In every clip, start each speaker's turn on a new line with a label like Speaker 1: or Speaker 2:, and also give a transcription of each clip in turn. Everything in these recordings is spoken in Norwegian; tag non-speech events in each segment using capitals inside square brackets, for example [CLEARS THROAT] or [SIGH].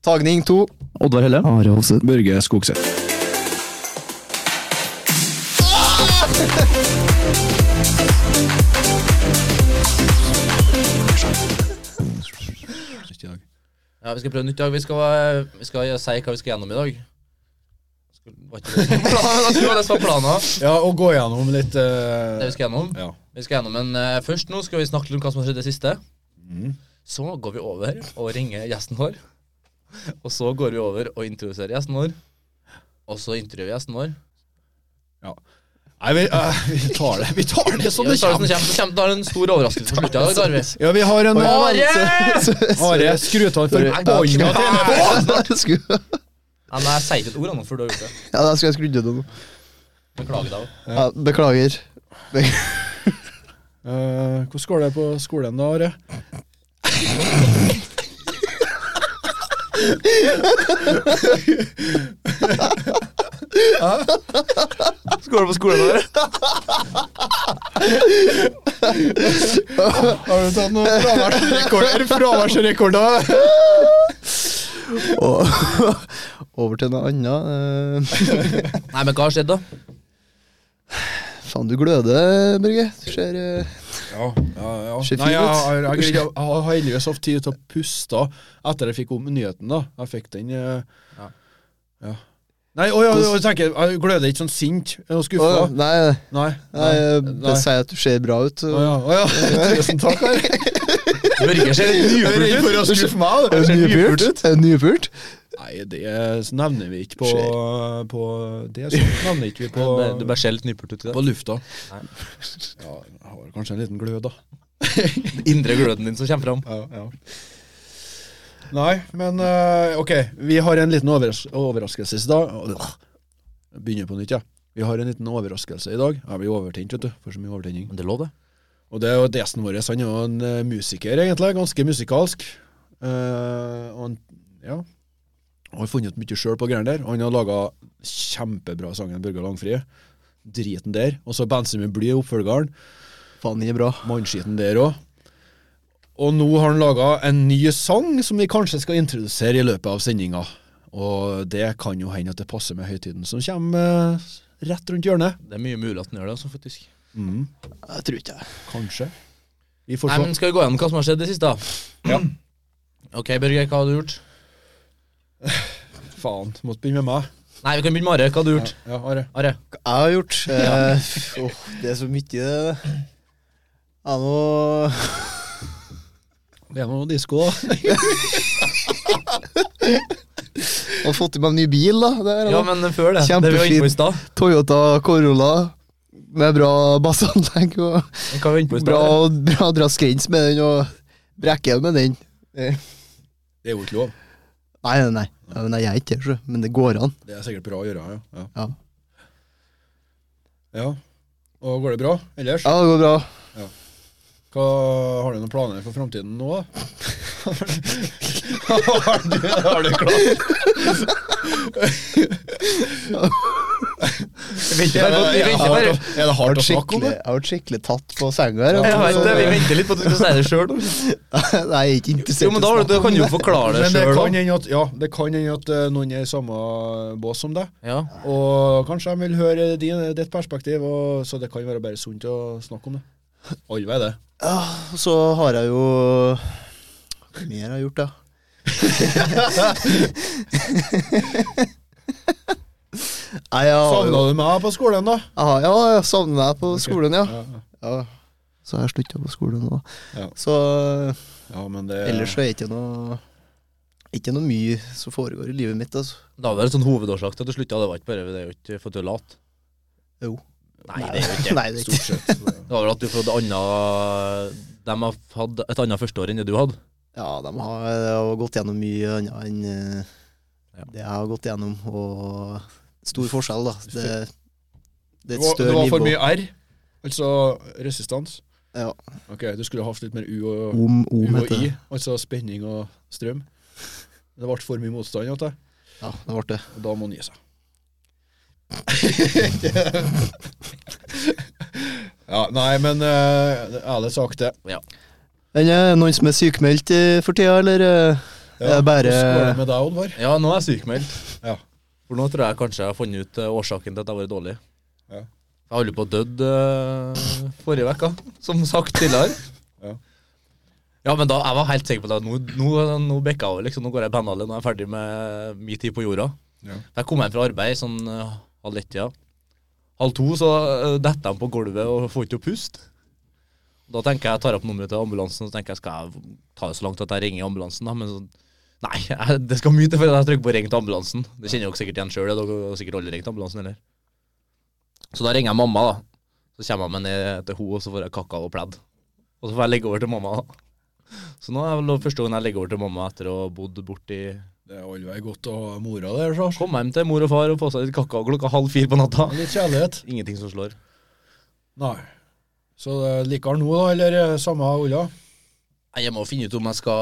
Speaker 1: Tagning to.
Speaker 2: Oddvar Helle.
Speaker 3: Are Hovseth.
Speaker 4: Børge Skogseth.
Speaker 5: Ja, vi skal prøve nytt i dag. Vi skal, eh, vi skal si hva vi skal gjennom i dag. Skal- Var ikke det [LAUGHS] planen? Det var det som var planen.
Speaker 1: Ja, og gå gjennom litt eh,
Speaker 5: Det vi skal gjennom.
Speaker 1: Ja.
Speaker 5: Vi skal gjennom en eh, Først nå skal vi snakke litt om hva som har skjedd det siste.
Speaker 1: Mm.
Speaker 5: Så går vi over og ringer gjesten vår. Og så går vi over og introduserer gjesten vår. Og så intervjuer vi gjesten vår.
Speaker 1: Nei, vi, eh, vi tar det Vi tar det som
Speaker 5: Ja,
Speaker 1: det
Speaker 5: vi tar
Speaker 1: kommer.
Speaker 5: det som kommer. Så kommer det er en stor overraskelse på slutten. i dag, Arve.
Speaker 1: Ja, vi har en eh,
Speaker 5: Are!
Speaker 3: [LAUGHS]
Speaker 1: Are, skru av forbanna TV-en.
Speaker 3: Jeg skulle-
Speaker 5: Ja, nei, jeg sier ikke et ord annet før du har gjort det.
Speaker 3: Ja, der skulle jeg skrudd av noe.
Speaker 5: Beklager deg.
Speaker 3: Ja, beklager.
Speaker 1: Eh, Hvordan går det på skolen da, Are?
Speaker 2: Skål på skolen
Speaker 3: [LAUGHS]
Speaker 2: vår.
Speaker 1: Har du tatt
Speaker 5: [LAUGHS]
Speaker 1: noen fraværsrekorder? Fraværsrekorder?
Speaker 3: Og [LAUGHS] over til noe annet. Eh,
Speaker 5: Nei, men hva har skjedd, da?
Speaker 3: Faen, du gløder, Børge. Du ser eh,
Speaker 1: Ja, ja, ja.
Speaker 3: Ser
Speaker 1: Nei,
Speaker 3: fin
Speaker 1: jeg,
Speaker 3: ut.
Speaker 1: har- jeg, jeg, jeg har heldigvis hatt tid til å puste etter jeg fikk om nyheten. da. Jeg fikk den eh,
Speaker 5: Ja.
Speaker 1: ja. Nei, å, ja, jeg, tenker, jeg gløder ikke sånn sint og skuffa.
Speaker 3: Å, Nei,
Speaker 1: Nei.
Speaker 3: nei, jeg
Speaker 1: Nei.
Speaker 3: bare sier at du ser bra ut.
Speaker 1: Å ja. Å, ja.
Speaker 3: sånn-
Speaker 1: Tusen takk.
Speaker 3: [LAUGHS]
Speaker 1: Are.
Speaker 5: Børge ser litt
Speaker 1: Jeg er redd for å skuffe meg.
Speaker 3: Er
Speaker 1: da.
Speaker 3: du nypult? Er du nypult?
Speaker 1: Nei, det nevner vi ikke på, på Det så nevner ikke vi på,
Speaker 5: [LAUGHS] Du bare ser litt nypult ut i
Speaker 1: på
Speaker 5: det.
Speaker 1: lufta.
Speaker 5: Nei.
Speaker 1: Ja, jeg har kanskje en liten glød, da.
Speaker 5: Indre gløden din som kommer fram.
Speaker 1: Ja, ja. Nei, men eh, ok. Vi har en liten overras overraskelse i dag. Åh, jeg Begynner på nytt, ja. Vi har en liten overraskelse i dag. Jeg blir overtent, vet du. For så mye overtenning.
Speaker 5: Men det lå, det.
Speaker 1: Og det er jo gjesten vår. Han er jo en eh, musiker, egentlig. Ganske musikalsk. Eh, og han ja. Han har funnet ut mye sjøl på greiene der. Han har laga kjempebra sangen 'Børge Langfri'. Driten der. Og så 'Bensin med bly', oppfølgeren.
Speaker 3: Faen, den er bra.
Speaker 1: Mannskiten der òg. Og nå har han laga en ny sang som vi kanskje skal introdusere i løpet av sendinga. Og det kan jo hende at det passer med høytiden som kommer eh, rett rundt hjørnet. Mm,
Speaker 5: Det er mye mulig at den gjør det, altså, faktisk.
Speaker 3: Jeg tror ikke jeg.
Speaker 1: Kanskje. Vi får
Speaker 5: Nei,
Speaker 1: se.
Speaker 5: men Skal vi gå gjennom hva som har skjedd det siste? da?
Speaker 1: Ja.
Speaker 5: Ok, Børge, hva har du gjort?
Speaker 1: Faen, måtte begynne med meg.
Speaker 5: Nei, vi kan begynne med Are. Hva har du gjort?
Speaker 1: Ja, Are.
Speaker 5: Are?
Speaker 3: Hva jeg har gjort? Eh, f- åh, det er så mye det. Ja, nå
Speaker 1: Det er noe disko, da.
Speaker 3: Jeg har fått i meg en ny bil, da. Det er,
Speaker 5: Ja, men før det. Det vi var inne på i
Speaker 3: Kjempefint.
Speaker 5: stad.
Speaker 3: Toyota Corolla med bra bassanlegg og
Speaker 5: Hva var vi inne på i
Speaker 3: bra,
Speaker 5: stad?
Speaker 3: bra dra skrens med den og brekke med den.
Speaker 1: [LAUGHS] Det er jo ikke lov.
Speaker 3: Nei, nei, nei. Ja, men jeg er ikke det, sjø. men det går an.
Speaker 1: Det er sikkert bra å gjøre, ja. Ja.
Speaker 3: Ja.
Speaker 1: Ja. Og går det bra ellers?
Speaker 3: Ja, det går bra.
Speaker 1: Hva, har du noen planer for framtiden nå, da? har, du, har du klart
Speaker 5: Vi venter bare på- vi venter bare
Speaker 1: Er det hardt å
Speaker 3: Jeg
Speaker 1: snakke om det?
Speaker 3: har vært skikkelig tatt på senga her. altså.
Speaker 5: Jeg vet det, Vi venter litt på at du skal si det sjøl.
Speaker 3: [LAUGHS] Nei, jeg er ikke interessert
Speaker 5: Jo, men da har du- du kan jo forklare det
Speaker 1: Men det kan
Speaker 5: sjøl.
Speaker 1: hende at, ja, det kan hende at eh, noen er i samme bås som deg.
Speaker 5: Ja.
Speaker 1: Og kanskje de vil høre din, ditt perspektiv, og, så det kan være bare sunt å snakke om det. Alle vet det.
Speaker 3: Ja, og så har jeg jo Hva mer har jeg gjort, da? [LAUGHS] Nei, jeg har jo
Speaker 1: Savna du meg på skolen, da?
Speaker 3: jeg har, Ja, jeg savner deg på skolen, ja.
Speaker 1: Ja,
Speaker 3: ja. Så jeg har slutta på skolen nå.
Speaker 1: Ja.
Speaker 3: Så eh,
Speaker 1: ja men det
Speaker 3: ellers så er det ikke noe Ikke noe mye som foregår i livet mitt, altså.
Speaker 5: Da var det en sånn hovedårsak til at du slutta. Det var ikke bare det er jo ikke for at du er lat.
Speaker 3: Jo.
Speaker 5: Nei, det er jo ikke
Speaker 3: [LAUGHS] Nei, [LAUGHS] det er ikke.
Speaker 1: Stort sett. så-
Speaker 5: Det var vel at du fått annet De har hatt et annet førsteår enn det du hadde.
Speaker 3: Ja, de har, de har gått gjennom mye annet enn eh,
Speaker 5: Ja.
Speaker 3: det jeg har gått gjennom, og stor forskjell, da. Det,
Speaker 1: Det
Speaker 3: det er et
Speaker 1: var, det
Speaker 3: større
Speaker 1: var for
Speaker 3: nivå.
Speaker 1: mye R, altså resistans.
Speaker 3: Ja.
Speaker 1: Ok, du skulle hatt litt mer U og,
Speaker 3: Om,
Speaker 1: U
Speaker 3: om
Speaker 1: og
Speaker 3: heter
Speaker 1: I,
Speaker 3: det.
Speaker 1: altså spenning og strøm. Det ble for mye motstand, vet du,
Speaker 3: Ja, det ble det.
Speaker 1: og da må han gi [LAUGHS] seg. ja, nei, men eh, ærlig sagt det.
Speaker 3: Men, eh, noen som er sykemeldt eh, for tida, eller? eh? Det er bare
Speaker 1: Hvordan går det med deg, Oddvar?
Speaker 5: Ja, nå er jeg sykmeldt.
Speaker 1: Ja.
Speaker 5: For nå tror jeg kanskje jeg har funnet ut eh, årsaken til at jeg har vært dårlig.
Speaker 1: Ja.
Speaker 5: Jeg holdt på å dø eh, forrige uke, som sagt tidligere.
Speaker 1: Ja.
Speaker 5: Ja, men da, jeg var helt sikker på det. at Nå, nå, nå bekka jeg over. liksom. Nå går jeg i pennhallet. Nå er jeg ferdig med min tid på jorda.
Speaker 1: Ja.
Speaker 5: Der kom jeg fra arbeid sånn eh, halv ett-tida. Halv to så uh, detter jeg på gulvet og får ikke å puste. Da tenker jeg, jeg tar opp nummeret til ambulansen og så tenker jeg, skal jeg ta det så langt at jeg ringer ambulansen. da, men så Nei, [LAUGHS] jeg, det skal mye til før jeg trykker på 'ring til ambulansen'. Det kjenner dere sikkert igjen sjøl. Dere har sikkert aldri ringt ambulansen heller. Så da ringer jeg mamma, da. Så kommer jeg meg ned til henne, og så får jeg kakao og pledd. Og så får jeg legge over til mamma. da. Så nå er det første gangen jeg legger over til mamma etter å ha bodd borti
Speaker 1: Det er allveg godt å ha mora der, Lars.
Speaker 5: Kom hjem til mor og far og få seg litt kakao klokka halv fire på natta.
Speaker 1: Litt kjærlighet.
Speaker 5: Ingenting som slår.
Speaker 1: Nei. Så det er likere nå, da, eller er det samme Olla?
Speaker 5: Nei, Jeg må finne ut om jeg skal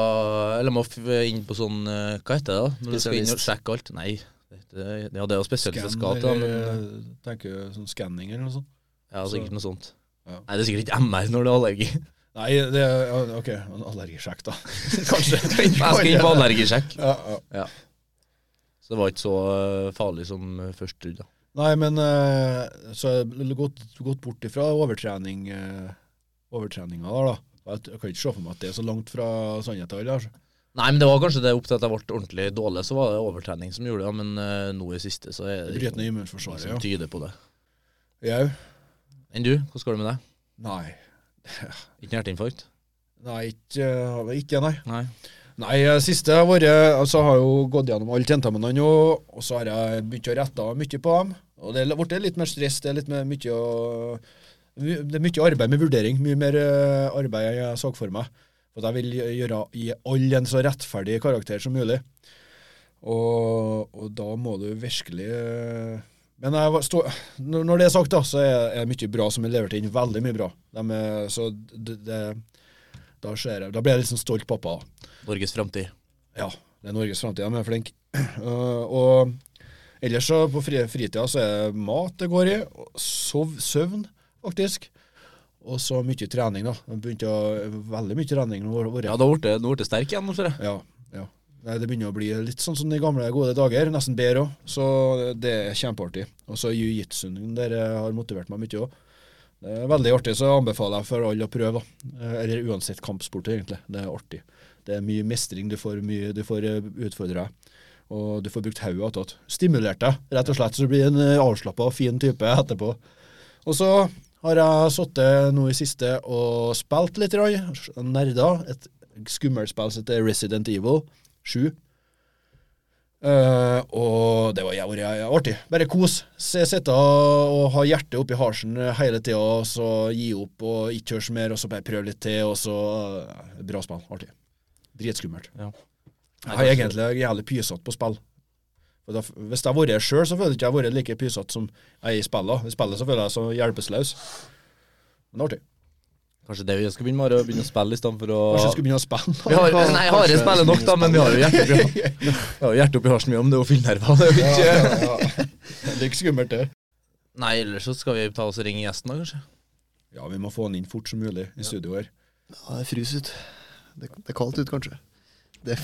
Speaker 5: Eller jeg må f- inn på sånn eh, Hva heter det? da? Når du skal inn og
Speaker 3: Spesialist.
Speaker 5: sjekke alt? Nei. Det, ja, det er jo spesielt jeg skal
Speaker 1: Scan,
Speaker 5: til, da,
Speaker 1: eller
Speaker 5: men
Speaker 1: eh, tenker jeg sånn skanning eller noe sånt?
Speaker 5: Ja,
Speaker 1: Så-
Speaker 5: sikkert noe sånt.
Speaker 1: Ja.
Speaker 5: Nei, det er sikkert ikke MR når du har allergi.
Speaker 1: Nei, det er ja, OK, en allergisjekk, da. [LAUGHS]
Speaker 5: Kanskje. Jeg skal inn på allergisjekk.
Speaker 1: Ja, ja.
Speaker 5: Så det var ikke så eh, farlig som eh, først trodd. da.
Speaker 1: Nei, men eh, så jeg har gått, gått bort ifra overtrening, eh, overtreninga der, da. Jeg t- jeg kan ikke se for meg at det er så langt fra sannheten. eller, Altså.
Speaker 5: Nei, men det var kanskje det opp til at jeg ble ordentlig dårlig, så var det overtrening som gjorde det. Men eh, nå i siste så er sånn det
Speaker 1: Bryter ned
Speaker 5: noe
Speaker 1: immunforsvaret,
Speaker 5: som
Speaker 1: ja.
Speaker 5: tyder på det.
Speaker 1: Jau?
Speaker 5: Enn du, hvordan går det med deg?
Speaker 1: Nei.
Speaker 5: Ikke noe hjerteinfarkt?
Speaker 1: Nei, ikke, eh, ikke nei.
Speaker 5: Nei.
Speaker 1: Nei, eh, siste har vært altså, Jeg har jo gått gjennom alle tentamene nå, og så har jeg begynt å rette av mye på dem. Og det er blitt litt mer stress. Det er litt mer mye å Det er mye arbeid med vurdering. Mye mer eh, arbeid enn jeg så for meg. For jeg vil gjøre, gi alle en så rettferdig karakter som mulig. Og, og da må du virkelig eh, Men jeg var, stå, når når det er sagt, da, så er er det mye bra som er levert inn. Veldig mye bra. De er, så det, det, da, ser jeg, da blir jeg litt sånn stolt pappa. da.
Speaker 5: Norges framtid.
Speaker 1: Ja, det er Norges framtid. De er [CLEARS THROAT] flinke. og ellers så på fri- fritida så er det mat det går i. og Sov, søvn, faktisk. Og så mye trening, da. Jeg Begynte å, veldig mye trening. nå har det vært.
Speaker 5: Ja, du har blitt- du har blitt sterk igjen, ser jeg.
Speaker 1: Ja, ja. Nei, det begynner å bli litt sånn som de gamle, gode dager. Nesten bedre òg. Så det er kjempeartig. Og så jiu-jitsuen der eh, har motivert meg mye òg. Det er veldig artig, så jeg anbefaler jeg for alle å prøve. da. Eh, Eller uansett kampsport, egentlig. Det er artig. Det er mye mestring, du får, mye, du får eh, utfordre deg. Og du får brukt hodet attåt. Stimulert deg, rett og slett. Så du blir en avslappa og fin type etterpå. Og så har jeg sittet nå i siste og spilt litt, grann. nerda. Et skummelt spill som heter Resident Evil 7. Eh, og det var jævlig artig. Bare kos. Se- Sitte og ha hjertet oppi halsen hele tida, og så gi opp og ikke høre så mer, og så bare prøve litt til, og så eh, Bra spill. Artig. Dritskummelt.
Speaker 5: Ja.
Speaker 1: Jeg er egentlig jævlig pysete på spill. Og da, hvis jeg har vært sjøl, så føler jeg ikke jeg har vært like pysete som jeg er i spillet. I spillet så føler jeg meg så hjelpeløs. Men det er artig.
Speaker 5: Kanskje det vi skal begynne med, er å begynne å spille i stedet for å
Speaker 1: Kanskje jeg skulle begynne å spille. [LAUGHS]
Speaker 5: Vi har, nei, Hare spiller nok, da, men vi har jo hjertet [LAUGHS] oppi, vi har jo hjertet oppi halsen mye om det er jo filmnerver. Det er jo ikke
Speaker 1: [LAUGHS] Det er ikke skummelt, det.
Speaker 5: Nei, ellers så skal vi ta oss og ringe gjesten da, kanskje.
Speaker 1: Ja, vi må få han inn fort som mulig i studio her.
Speaker 3: Ja, det fryser ut. Det, det er kaldt ute, kanskje. Det.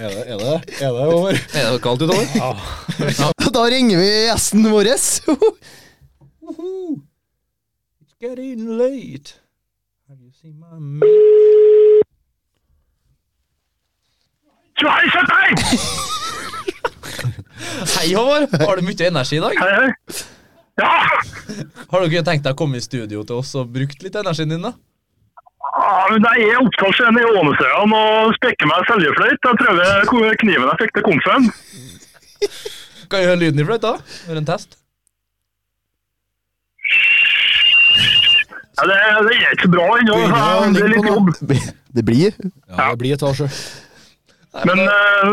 Speaker 1: Er det er det? Er [LAUGHS] det over?
Speaker 5: [LAUGHS] Er det kaldt utover? Ja.
Speaker 3: [LAUGHS] Da ringer vi gjesten vår. [LAUGHS]
Speaker 5: It's getting late. Have you seen my mate?
Speaker 4: Sveis at deg!
Speaker 5: [LAUGHS] Hei, Håvard! Har du mye energi i dag?
Speaker 4: Hei, hei. Ja!
Speaker 5: Har du ikke tenkt deg å komme i studio til oss og brukt litt energien din, da?
Speaker 4: Ah, men Jeg er oppkalt igjen i Ånesøyan og spekker meg seljefløyt. Jeg prøver ko- kniven jeg fikk til komfen.
Speaker 5: Kan jeg høre lyden i fløyta? Gjøre en test?
Speaker 4: Ja, det, det er ikke så bra ennå. så Det er litt jobb.
Speaker 3: Det blir
Speaker 1: Ja, det blir etasje.
Speaker 4: Men eh,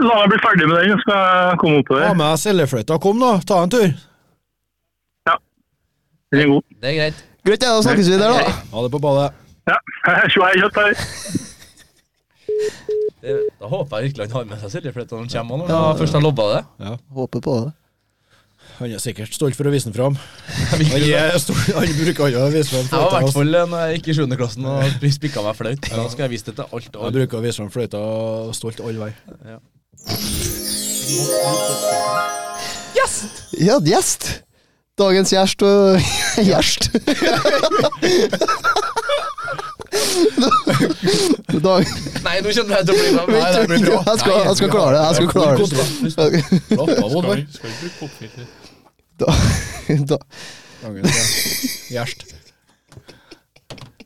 Speaker 4: la meg bli ferdig med den, så skal jeg komme
Speaker 1: Ha
Speaker 4: oppover.
Speaker 1: med deg seljefløyta. Kom, da. Ta en tur.
Speaker 4: Den er god.
Speaker 5: Det er greit.
Speaker 3: Greit, ja, da snakkes vi der, da.
Speaker 1: Ha det på badet.
Speaker 4: Ja. [LAUGHS] Svei kjøtt her.
Speaker 5: Det, da håper jeg virkelig han har med seg seljefløyta når han kommer, når han først har lobba det.
Speaker 3: Håper på det.
Speaker 1: Han er sikkert stolt for å vise den fram. [LAUGHS]
Speaker 5: Jeg
Speaker 1: Han, er stor, han bruker aldri å vise fram
Speaker 5: var i
Speaker 1: fløyta.
Speaker 5: hvert
Speaker 1: ass.
Speaker 5: fall eh, når jeg gikk i 7. klassen og spikka meg flaut. Da skal jeg vise det til alt.
Speaker 1: Han
Speaker 5: alt.
Speaker 1: bruker å vise fram fløyta stolt all vei.
Speaker 3: Ja, gjest! Dagens gjest og [LAUGHS]
Speaker 4: [LAUGHS]
Speaker 3: Gjest! Dag...
Speaker 5: Nei, nå kjenner jeg til å bli med.
Speaker 1: Nei, det blir bra.
Speaker 3: Jeg skal, jeg skal klare det. Jeg skal klare det.
Speaker 1: Slapp av,
Speaker 6: Skal
Speaker 1: Oddvar.
Speaker 6: vi- skal vi bruke oppfilter?
Speaker 3: Da,
Speaker 1: Gjerst.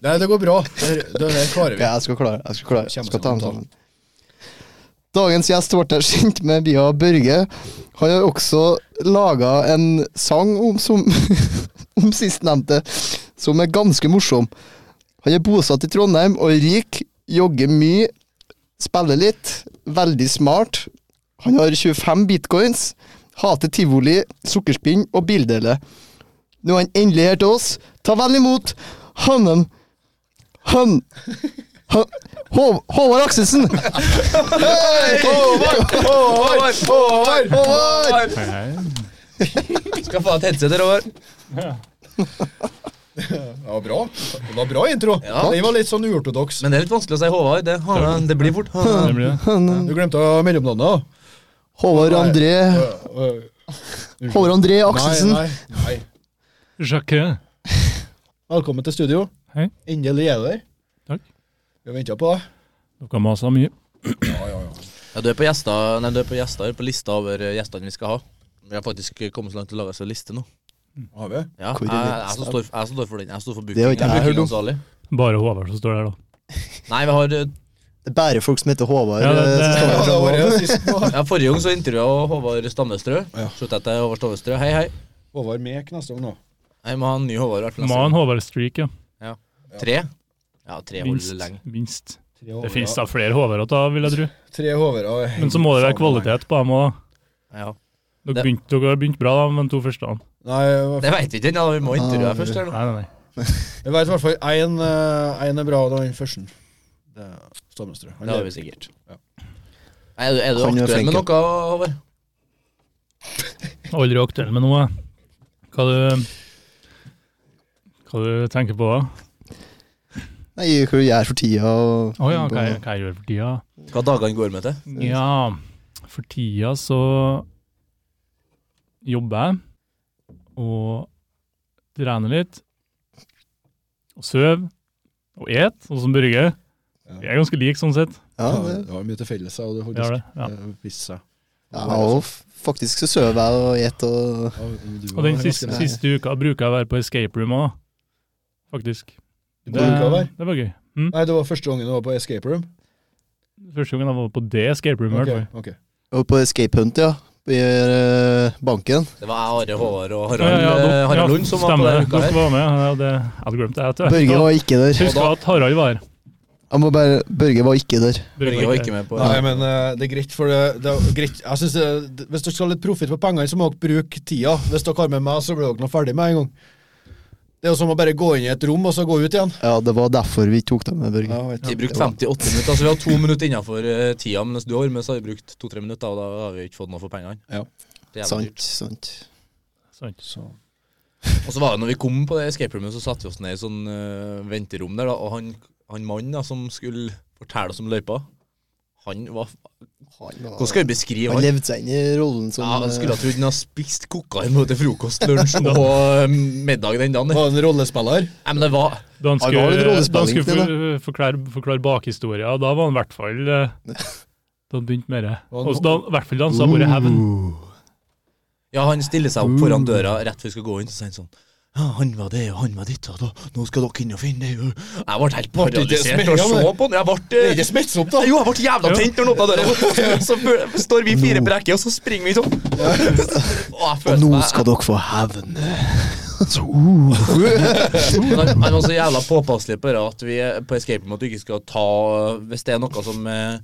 Speaker 1: Nei, det går bra. Det, her- det her klarer
Speaker 3: Ja,
Speaker 1: vi.
Speaker 3: jeg skal klare det. Jeg skal klare det. Jeg
Speaker 1: Kjem
Speaker 3: skal ta den
Speaker 1: sammen.
Speaker 3: sammen. Dagens gjest ble kjent med Bia Børge. Han har også laga en sang om, som, [LAUGHS] om sistnevnte, som er ganske morsom. Han er bosatt i Trondheim og er rik, jogger mye, spiller litt, veldig smart. Han har 25 bitcoins, hater tivoli, sukkerspinn og bildele. Nå er han endelig her til oss. Ta vel imot Hannen Han Hå- Hå- Håvard Akselsen!
Speaker 5: Håvard! Håvard!
Speaker 3: Håvard!
Speaker 6: Hei, hei.
Speaker 5: Skal få et headset her, Håvard.
Speaker 1: Det var bra. Det var bra intro.
Speaker 5: Ja.
Speaker 1: Den var litt sånn uortodoks.
Speaker 5: Men det er litt vanskelig å si Håvard. Det, han, det blir fort.
Speaker 6: Det
Speaker 5: Han,
Speaker 6: blir det.
Speaker 1: Du glemte å mellomnavnet.
Speaker 3: Håvard André
Speaker 1: da. Øh, øh,
Speaker 3: Håvard André Akselsen.
Speaker 1: Nei, nei, nei.
Speaker 6: Jacques.
Speaker 1: Velkommen til studio.
Speaker 6: Hei.
Speaker 1: Endelig er du der.
Speaker 6: Takk.
Speaker 1: Vi har venta på deg.
Speaker 6: Dere maser mye.
Speaker 1: Ja, ja, ja.
Speaker 5: Ja, du er på gjester, nei, du er på gjester på lista over eh, gjestene vi skal ha. Vi har faktisk kommet så langt til å lage oss en liste nå.
Speaker 1: Har vi?
Speaker 5: Ja,
Speaker 3: Hvor
Speaker 5: jeg,
Speaker 3: er
Speaker 5: jeg,
Speaker 3: lista?
Speaker 5: som står, jeg som står for den. Jeg står for
Speaker 3: Det
Speaker 5: booking.
Speaker 3: har
Speaker 5: Jeg er
Speaker 3: ikke jeg hørt om.
Speaker 5: bookingansvarlig.
Speaker 6: Bare Håvard som står der, da.
Speaker 5: Nei, vi har eh,
Speaker 3: Det er bare folk som heter Håvard.
Speaker 6: Ja, det-
Speaker 3: eh, som står
Speaker 1: Ja,
Speaker 3: her
Speaker 1: det var
Speaker 3: framme.
Speaker 1: det sist nå.
Speaker 5: ja, Forrige gang så intervjua Håvard Stammestrø.
Speaker 1: Ja.
Speaker 5: Slutta jeg til Håvard Stammestrø. Hei, hei.
Speaker 1: Håvard Mek neste gang nå.
Speaker 5: Jeg må ha en ny Håvard. i hvert fall neste
Speaker 6: Må ha en
Speaker 5: gang.
Speaker 6: Håvard-streak, ja.
Speaker 5: Tre? Ja, tre
Speaker 6: Minst.
Speaker 5: holder lenge.
Speaker 6: Minst.
Speaker 1: Tre
Speaker 6: Det
Speaker 1: Håvarder.
Speaker 6: finnes da flere Håvard å ta, vil jeg tro.
Speaker 1: Tre Håvarder.
Speaker 6: Men så må det være kvalitet på dem òg.
Speaker 5: Ja.
Speaker 6: Dere,
Speaker 5: Det-
Speaker 6: begynte- dere har begynt bra, da, men to første da.
Speaker 1: Nei,
Speaker 5: Det veit vi ikke ennå. Vi må intervjue
Speaker 3: Ah,
Speaker 5: deg først. her nå.
Speaker 6: Nei, nei, nei.
Speaker 1: jeg vet i hvert fall én er bra, og den første. Det er Stammestrø. Han
Speaker 5: Det har
Speaker 1: er-
Speaker 5: vi sikkert.
Speaker 1: Ja.
Speaker 5: Nei, Er du, er du
Speaker 3: Han er
Speaker 5: aktuell med
Speaker 3: flink,
Speaker 5: noe, Håvard?
Speaker 6: Aldri aktuell med noe. jeg. Hva du Hva du tenker på da?
Speaker 3: Nei, hva jeg gjør for tida og
Speaker 6: Å ja, hva jeg, hva jeg gjør for tida?
Speaker 5: Hva dagene går med til?
Speaker 6: Ja, for tida så jobber jeg og trener litt. Og sover og et, sånn som Børge. Vi er ganske like sånn sett.
Speaker 3: Ja,
Speaker 1: Ja,
Speaker 3: det-
Speaker 1: det har mye til felles, ja, og det
Speaker 6: Vi har det, ja.
Speaker 1: faktisk, eh, viste seg.
Speaker 3: ja, og f- faktisk så sover jeg og et og
Speaker 1: Ja, du
Speaker 6: Og den
Speaker 1: var
Speaker 6: siste,
Speaker 1: ganske-
Speaker 3: lei.
Speaker 6: siste uka bruker jeg å være på escape room òg, faktisk.
Speaker 1: Du bruker å være?
Speaker 6: det var gøy. Mm.
Speaker 1: Nei, det var første gangen du var på escape room?
Speaker 6: Første gangen jeg var på det escape roomet. i hvert
Speaker 1: Ok,
Speaker 6: fall.
Speaker 1: ok.
Speaker 3: Og på Escape Hunt, ja. I eh, banken.
Speaker 5: Det var jeg, Are Håvard og
Speaker 6: Ja,
Speaker 5: Harald,
Speaker 6: ja, dere-
Speaker 5: eh, Harald Lund som var på
Speaker 6: stemmer
Speaker 5: den
Speaker 6: det.
Speaker 5: uka her.
Speaker 6: Dere var med. Ja, det, jeg hadde glemt det. Jeg vet
Speaker 3: Børge
Speaker 6: ikke.
Speaker 3: var ikke der.
Speaker 6: Husk at Harald var her.
Speaker 3: Jeg må bare Børge var ikke der.
Speaker 5: Børge var ikke med på
Speaker 1: Nei, men eh, det er greit, for det, det er greit. Jeg synes det, det- Hvis dere skal ha litt profitt på pengene, så må dere bruke tida. Hvis dere har med meg, så blir dere nå ferdig med en gang. Det er jo som å bare gå inn i et rom, og så gå ut igjen.
Speaker 3: Ja, det var derfor vi tok dem med Børge.
Speaker 1: Ja, vet
Speaker 5: Vi
Speaker 1: du.
Speaker 5: brukte 58 minutter, altså vi har to minutter innenfor eh, tida. Mens du har med, så har vi brukt to-tre minutter, og da har vi ikke fått noe for pengene.
Speaker 1: Ja.
Speaker 5: Det er jævlig
Speaker 3: Sant,
Speaker 5: dyrt.
Speaker 3: sant.
Speaker 6: Sant.
Speaker 1: Så.
Speaker 5: Og så var det når vi kom på det escape roomet, så satte vi oss ned i sånn eh, venterom der, da, og han, han mannen da, som skulle fortelle oss om løypa, han var
Speaker 3: Han,
Speaker 5: Hvordan skal vi beskrive han?
Speaker 3: han levde seg inn i rollen som
Speaker 5: Ja, han skulle ha
Speaker 3: eh,
Speaker 5: trodd han hadde spist kokain både til frokost, lunsj og eh, middag den dagen. Nei,
Speaker 1: Var det en rollespiller?
Speaker 5: men det var
Speaker 6: Da han
Speaker 3: Han var litt
Speaker 6: skulle, da han
Speaker 3: rollespilling
Speaker 6: skulle for, forklare, forklare bakhistoria, og da var han i hvert fall eh, Da han begynte med det. Og så da, i hvert fall da han sa ordet hevn.
Speaker 5: Ja, han stiller seg opp foran døra rett før vi skal gå inn, så sier han sånn ja, han var det, og han var ditt, og da, nå skal dere inn og finne det. og-» Jeg ble helt
Speaker 1: det ikke
Speaker 5: paralysert
Speaker 1: smellet,
Speaker 5: og så
Speaker 1: det?
Speaker 5: på han. Jeg ble,
Speaker 1: Det er ikke smittsomt, da!
Speaker 5: jo, jeg ble jævla
Speaker 6: Jo.
Speaker 5: tent når han åpna døra. Så føl- står vi fire på rekke, og så springer vi sånn. [LAUGHS] Og jeg
Speaker 3: Og
Speaker 5: følte
Speaker 3: nå
Speaker 5: meg
Speaker 3: skal dere få hevn. Så, uh.
Speaker 5: Men han, han var så jævla påpasselig på det at vi er på escape med at du ikke skal ta Hvis det er noe som eh,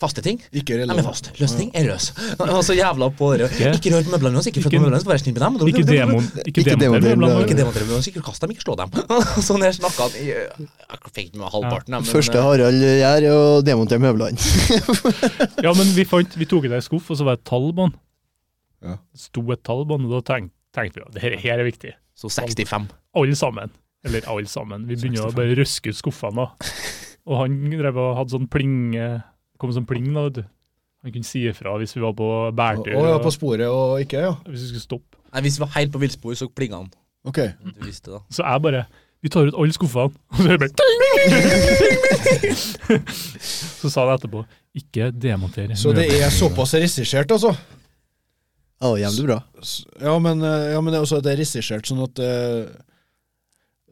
Speaker 5: Faste ting.
Speaker 1: Ikke
Speaker 5: Nei, men
Speaker 1: relevant.
Speaker 5: fast. Løs ting er løs. Han var så jævla på det.
Speaker 6: Ikke-
Speaker 5: Ikke rør på møblene hans, ikke flytt på
Speaker 6: ikke-
Speaker 5: møblene hans, vær snill med dem.
Speaker 6: Ikke
Speaker 5: [LAUGHS]
Speaker 6: demon.
Speaker 3: Ikke
Speaker 6: Ikke demon
Speaker 3: demon-
Speaker 5: Ikke
Speaker 6: blant annet.
Speaker 5: demontere med dem, ikke kast dem, ikke slå dem. [LAUGHS] sånn her snakka han i Jeg fikk ikke med halvparten, jeg, men eh,
Speaker 3: Første Harald gjør, er å demontere møblene.
Speaker 6: Ja, men vi, fant, vi tok det i skuff, og så var det et tall på den.
Speaker 1: Ja.
Speaker 6: Det sto et tall på den, og da tenk- tenkte vi at det her- her er viktig.
Speaker 5: Så 65.
Speaker 6: Alle sammen. Eller alle sammen. Vi begynner å bare røske ut skuffene. da. Og han drev og hadde sånn pling eh, kom sånn pling da, vet du. Han kunne si ifra hvis vi var på
Speaker 1: Å
Speaker 6: bærtur,
Speaker 1: ja,
Speaker 6: og
Speaker 1: på sporet og ikke, ja.
Speaker 6: hvis vi skulle stoppe.
Speaker 5: Nei, Hvis vi var helt på villspor, så plinga han.
Speaker 1: Ok.
Speaker 5: Du visste det.
Speaker 6: Så jeg bare Vi tar ut alle skuffene. [LAUGHS] Og så er det bare ting, [LAUGHS] Så sa han etterpå Ikke demonter.
Speaker 1: Så det er såpass regissert, altså?
Speaker 3: Ja, det er jævlig bra.
Speaker 1: S- Ja, men, eh, ja, men det er også at det er regissert sånn at eh,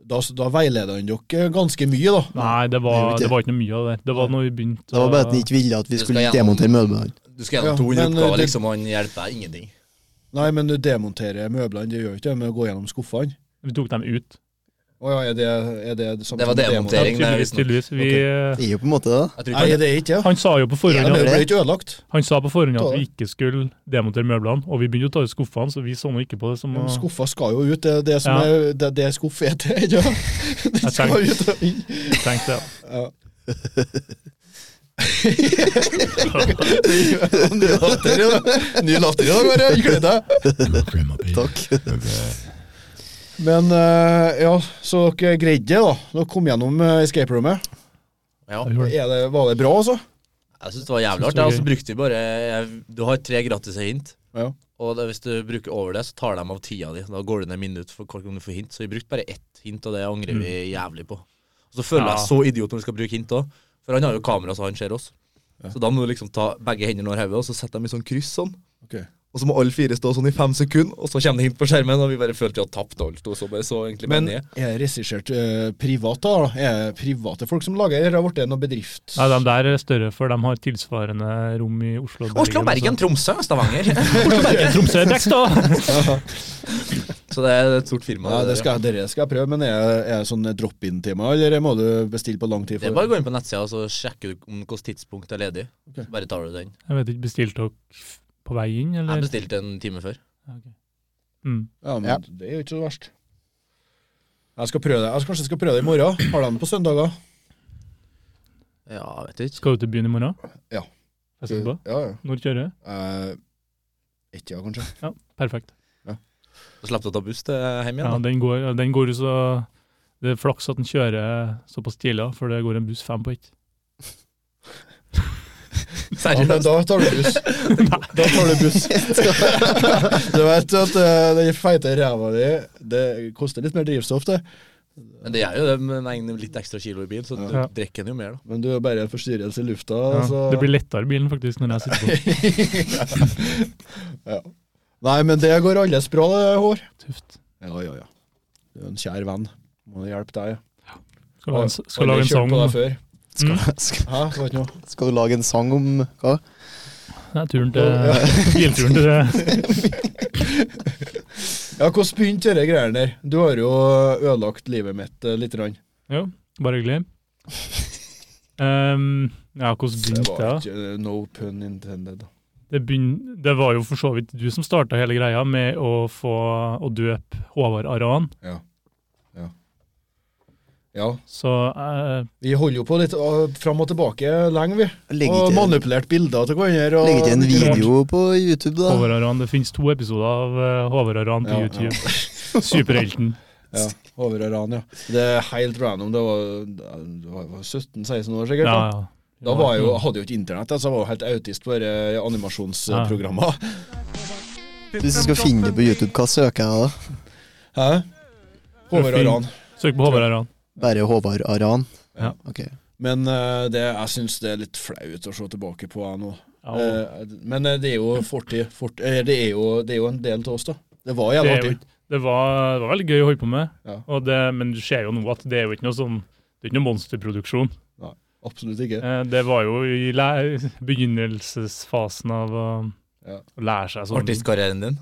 Speaker 1: da, da veileder han dere ganske mye, da.
Speaker 6: [LAUGHS] Nei,
Speaker 3: Det
Speaker 6: det
Speaker 3: er jo
Speaker 6: var,
Speaker 3: ikke-
Speaker 6: det var ikke noe mye av det. der. Det var når vi begynte
Speaker 3: Det var
Speaker 6: å-
Speaker 3: bare at han ikke ville at
Speaker 5: Du
Speaker 3: vi
Speaker 5: skal
Speaker 3: skulle
Speaker 5: gjennom-
Speaker 3: demontere møbelene.
Speaker 5: Du skal
Speaker 1: Ja,
Speaker 5: gjennom 200
Speaker 1: men, eh,
Speaker 5: oppgaver,
Speaker 1: det-
Speaker 5: liksom, og han hjelper deg ingenting.
Speaker 1: Nei, men du demonterer møblene, det gjør jo ikke det med å gå gjennom skuffene.
Speaker 6: Vi tok dem ut.
Speaker 1: Å ja, er det, er det, det samme
Speaker 5: Det var
Speaker 1: som
Speaker 6: Ja,
Speaker 5: demontering. Regjeringen er
Speaker 6: tydeligvis,
Speaker 5: visst nok.
Speaker 6: tydeligvis. Vi, eh,
Speaker 3: Det er jo på en måte det. da.
Speaker 5: Jeg tror
Speaker 1: Nei,
Speaker 5: ikke han,
Speaker 1: det er ikke det.
Speaker 6: han sa jo på forhånd
Speaker 3: Ja,
Speaker 1: Det
Speaker 6: at,
Speaker 3: men-
Speaker 1: ble ikke ødelagt.
Speaker 6: han sa på forhånd at
Speaker 1: Ta det.
Speaker 6: vi ikke skulle demontere møblene, og vi begynte å ta ut skuffene, så vi så nå ikke på det som
Speaker 1: Ja, men
Speaker 6: å-
Speaker 1: Skuffa skal jo ut, det er det som
Speaker 6: Ja.
Speaker 1: er det, det skuff er til. Ja. Den
Speaker 6: Jeg
Speaker 1: skal
Speaker 6: tenker-
Speaker 1: ut og inn.
Speaker 6: [LAUGHS] tenkte jeg.
Speaker 1: Ja.
Speaker 3: Ny latter i dag. Ny latter i dag, bare. Gled deg. [LAUGHS] Takk.
Speaker 1: Men eh, ja, så dere greide det, da. Dere kom gjennom eh, escape rommet.
Speaker 5: ja,
Speaker 6: Jeg gjorde det.
Speaker 1: Er det, var det bra, altså?
Speaker 5: jeg syns det var jævlig
Speaker 6: Synes det
Speaker 5: artig.
Speaker 6: var
Speaker 5: Og så
Speaker 6: gøy.
Speaker 5: brukte vi bare jeg- Du har tre gratis hint,
Speaker 1: Ja.
Speaker 5: og det, hvis du bruker over det, så tar de av tida di. Da går det ned minutt for hvor du får hint. Så vi brukte bare ett hint, og det angrer vi jævlig på. Og så føler
Speaker 6: Ja.
Speaker 5: jeg så idiot når du skal bruke hint òg, for han har jo kamera, så han ser oss. Så da må du liksom ta begge hendene over hodet, og så setter de i sånn kryss sånn.
Speaker 1: Ok.
Speaker 5: Og så må alle fire stå sånn i fem sekunder, og så kommer det hint på skjermen, og vi bare følte vi hadde tapt alt. Og så bare så egentlig bare
Speaker 1: Men
Speaker 5: ned.
Speaker 1: er det regissert eh, privat, da? da? Er det private folk som lager det, eller har det blitt noen bedrift?
Speaker 6: Nei, de der er større, for de har tilsvarende rom i Oslo og Bergen.
Speaker 5: Oslo, Bergen, Tromsø, [LAUGHS] Stavanger.
Speaker 6: Bergen, Tromsø, Brekstad!
Speaker 5: så det er et stort firma.
Speaker 1: Nei,
Speaker 5: der,
Speaker 1: det skal, dere skal jeg prøve, men er, er det sånn drop-in-timer, eller må du bestille på lang tid?
Speaker 5: ja. Det
Speaker 1: For?
Speaker 5: er bare å gå inn på nettsida og så sjekke ut om hvilket tidspunkt det er ledig.
Speaker 1: Ok.
Speaker 5: Så bare tar du den.
Speaker 6: [LAUGHS] Jeg vet ikke, bestilte dere på vei inn,
Speaker 5: Jeg
Speaker 6: eller?
Speaker 5: bestilte en time før.
Speaker 6: Mm.
Speaker 1: Ja, men
Speaker 3: Ja.
Speaker 1: det er jo ikke så verst. Jeg skal prøve det. Jeg skal, kanskje jeg skal prøve det i morgen. Har de det på søndager?
Speaker 5: Ja, jeg vet ikke.
Speaker 6: Skal du til byen i morgen?
Speaker 1: Ja.
Speaker 6: Festival?
Speaker 1: Ja, ja.
Speaker 6: Når kjører du?
Speaker 1: Eh, Ett ja, kanskje.
Speaker 6: Ja, perfekt.
Speaker 5: Så slapp du å ta buss til hjem
Speaker 6: Ja,
Speaker 5: igjen. da.
Speaker 6: den går, den går jo så Det er flaks at den kjører såpass tidlig, for det går en buss fem på ett.
Speaker 1: Ja, men
Speaker 5: Seriøst.
Speaker 1: da tar du buss. da tar du buss. du vet at eh, den feite ræva di, det koster litt mer drivstoff, det.
Speaker 5: [LAUGHS] Men det gjør jo det med en litt ekstra kilo i bil, så du
Speaker 6: Ja.
Speaker 5: drikker den jo mer, da.
Speaker 1: Men du er bare en forstyrrelse i lufta.
Speaker 6: Ja,
Speaker 1: Så.
Speaker 6: Det blir lettere i bilen faktisk når jeg sitter
Speaker 1: [LAUGHS]
Speaker 6: på.
Speaker 1: ja. Nei, men det går alles bra, det, Hår.
Speaker 6: Tøft.
Speaker 1: Ja, ja, ja. Du er en kjær venn. Må det hjelpe deg. ja.
Speaker 6: Skal lage en, s-
Speaker 1: Aldri
Speaker 6: skal lage en
Speaker 1: kjørt
Speaker 6: sang.
Speaker 1: på
Speaker 6: om-
Speaker 1: deg før.
Speaker 6: Mm.
Speaker 3: Skal,
Speaker 1: Hæ, det var ikke noe?
Speaker 3: skal du lage en sang om hva?
Speaker 6: Nei, turen til [LAUGHS] Bilturen til
Speaker 1: [LAUGHS] Ja, hvordan begynte disse greiene der? Du har jo ødelagt livet mitt eh, lite grann.
Speaker 6: Jo, bare hyggelig. Um, ja, hvordan
Speaker 1: Det
Speaker 6: begynte
Speaker 1: var
Speaker 6: det?
Speaker 1: ikke eh, no pun intended.
Speaker 6: Det, begyn- det var jo for så vidt du som starta hele greia med å få å døpe Håvard Aran.
Speaker 1: Ja,
Speaker 6: Så eh,
Speaker 1: Vi holder jo på litt ah, fram og tilbake lenge, vi.
Speaker 3: Legger
Speaker 1: Og
Speaker 3: ikke,
Speaker 1: manipulert bilder til hverandre. og-
Speaker 3: legger ikke en video på YouTube, da?
Speaker 6: Håvard Aran, det finnes to episoder av eh, Håvard Aran på
Speaker 1: Ja, [LAUGHS]
Speaker 6: YouTube. Superhelten.
Speaker 1: Ja, over Iran, ja. Det er helt random. Det var, det var 17-16 år sikkert.
Speaker 6: Ja,
Speaker 1: Da,
Speaker 6: ja.
Speaker 1: da var jeg jo,
Speaker 6: Mm.
Speaker 1: hadde jo ikke internett, altså, jeg var jo helt autist på disse animasjonsprogrammer.
Speaker 3: Hvis du skal finne det på YouTube, hva søker jeg da?
Speaker 1: Hæ? Over Iran.
Speaker 6: Søk på Håvard Aran.
Speaker 3: Bare Håvard Aran?
Speaker 6: Ja.
Speaker 3: Ok.
Speaker 1: Men eh, det, jeg syns det er litt flaut å se tilbake på jeg nå.
Speaker 6: Ja, og
Speaker 1: Eh, men eh, det er jo fortid. Fort, eh, det, er jo, det er jo en del av oss, da. Det var
Speaker 6: det,
Speaker 1: jævlig
Speaker 6: er jo,
Speaker 1: artig.
Speaker 6: ikke- det, var, det var veldig gøy å holde på med,
Speaker 1: Ja.
Speaker 6: og det, men du ser jo nå at det er jo ikke noe sånn det er ikke noe monsterproduksjon.
Speaker 1: Absolutt ikke.
Speaker 6: Eh, Det var jo i læ- begynnelsesfasen av å,
Speaker 1: Ja.
Speaker 6: å lære seg sånn.
Speaker 5: Artistkarrieren din.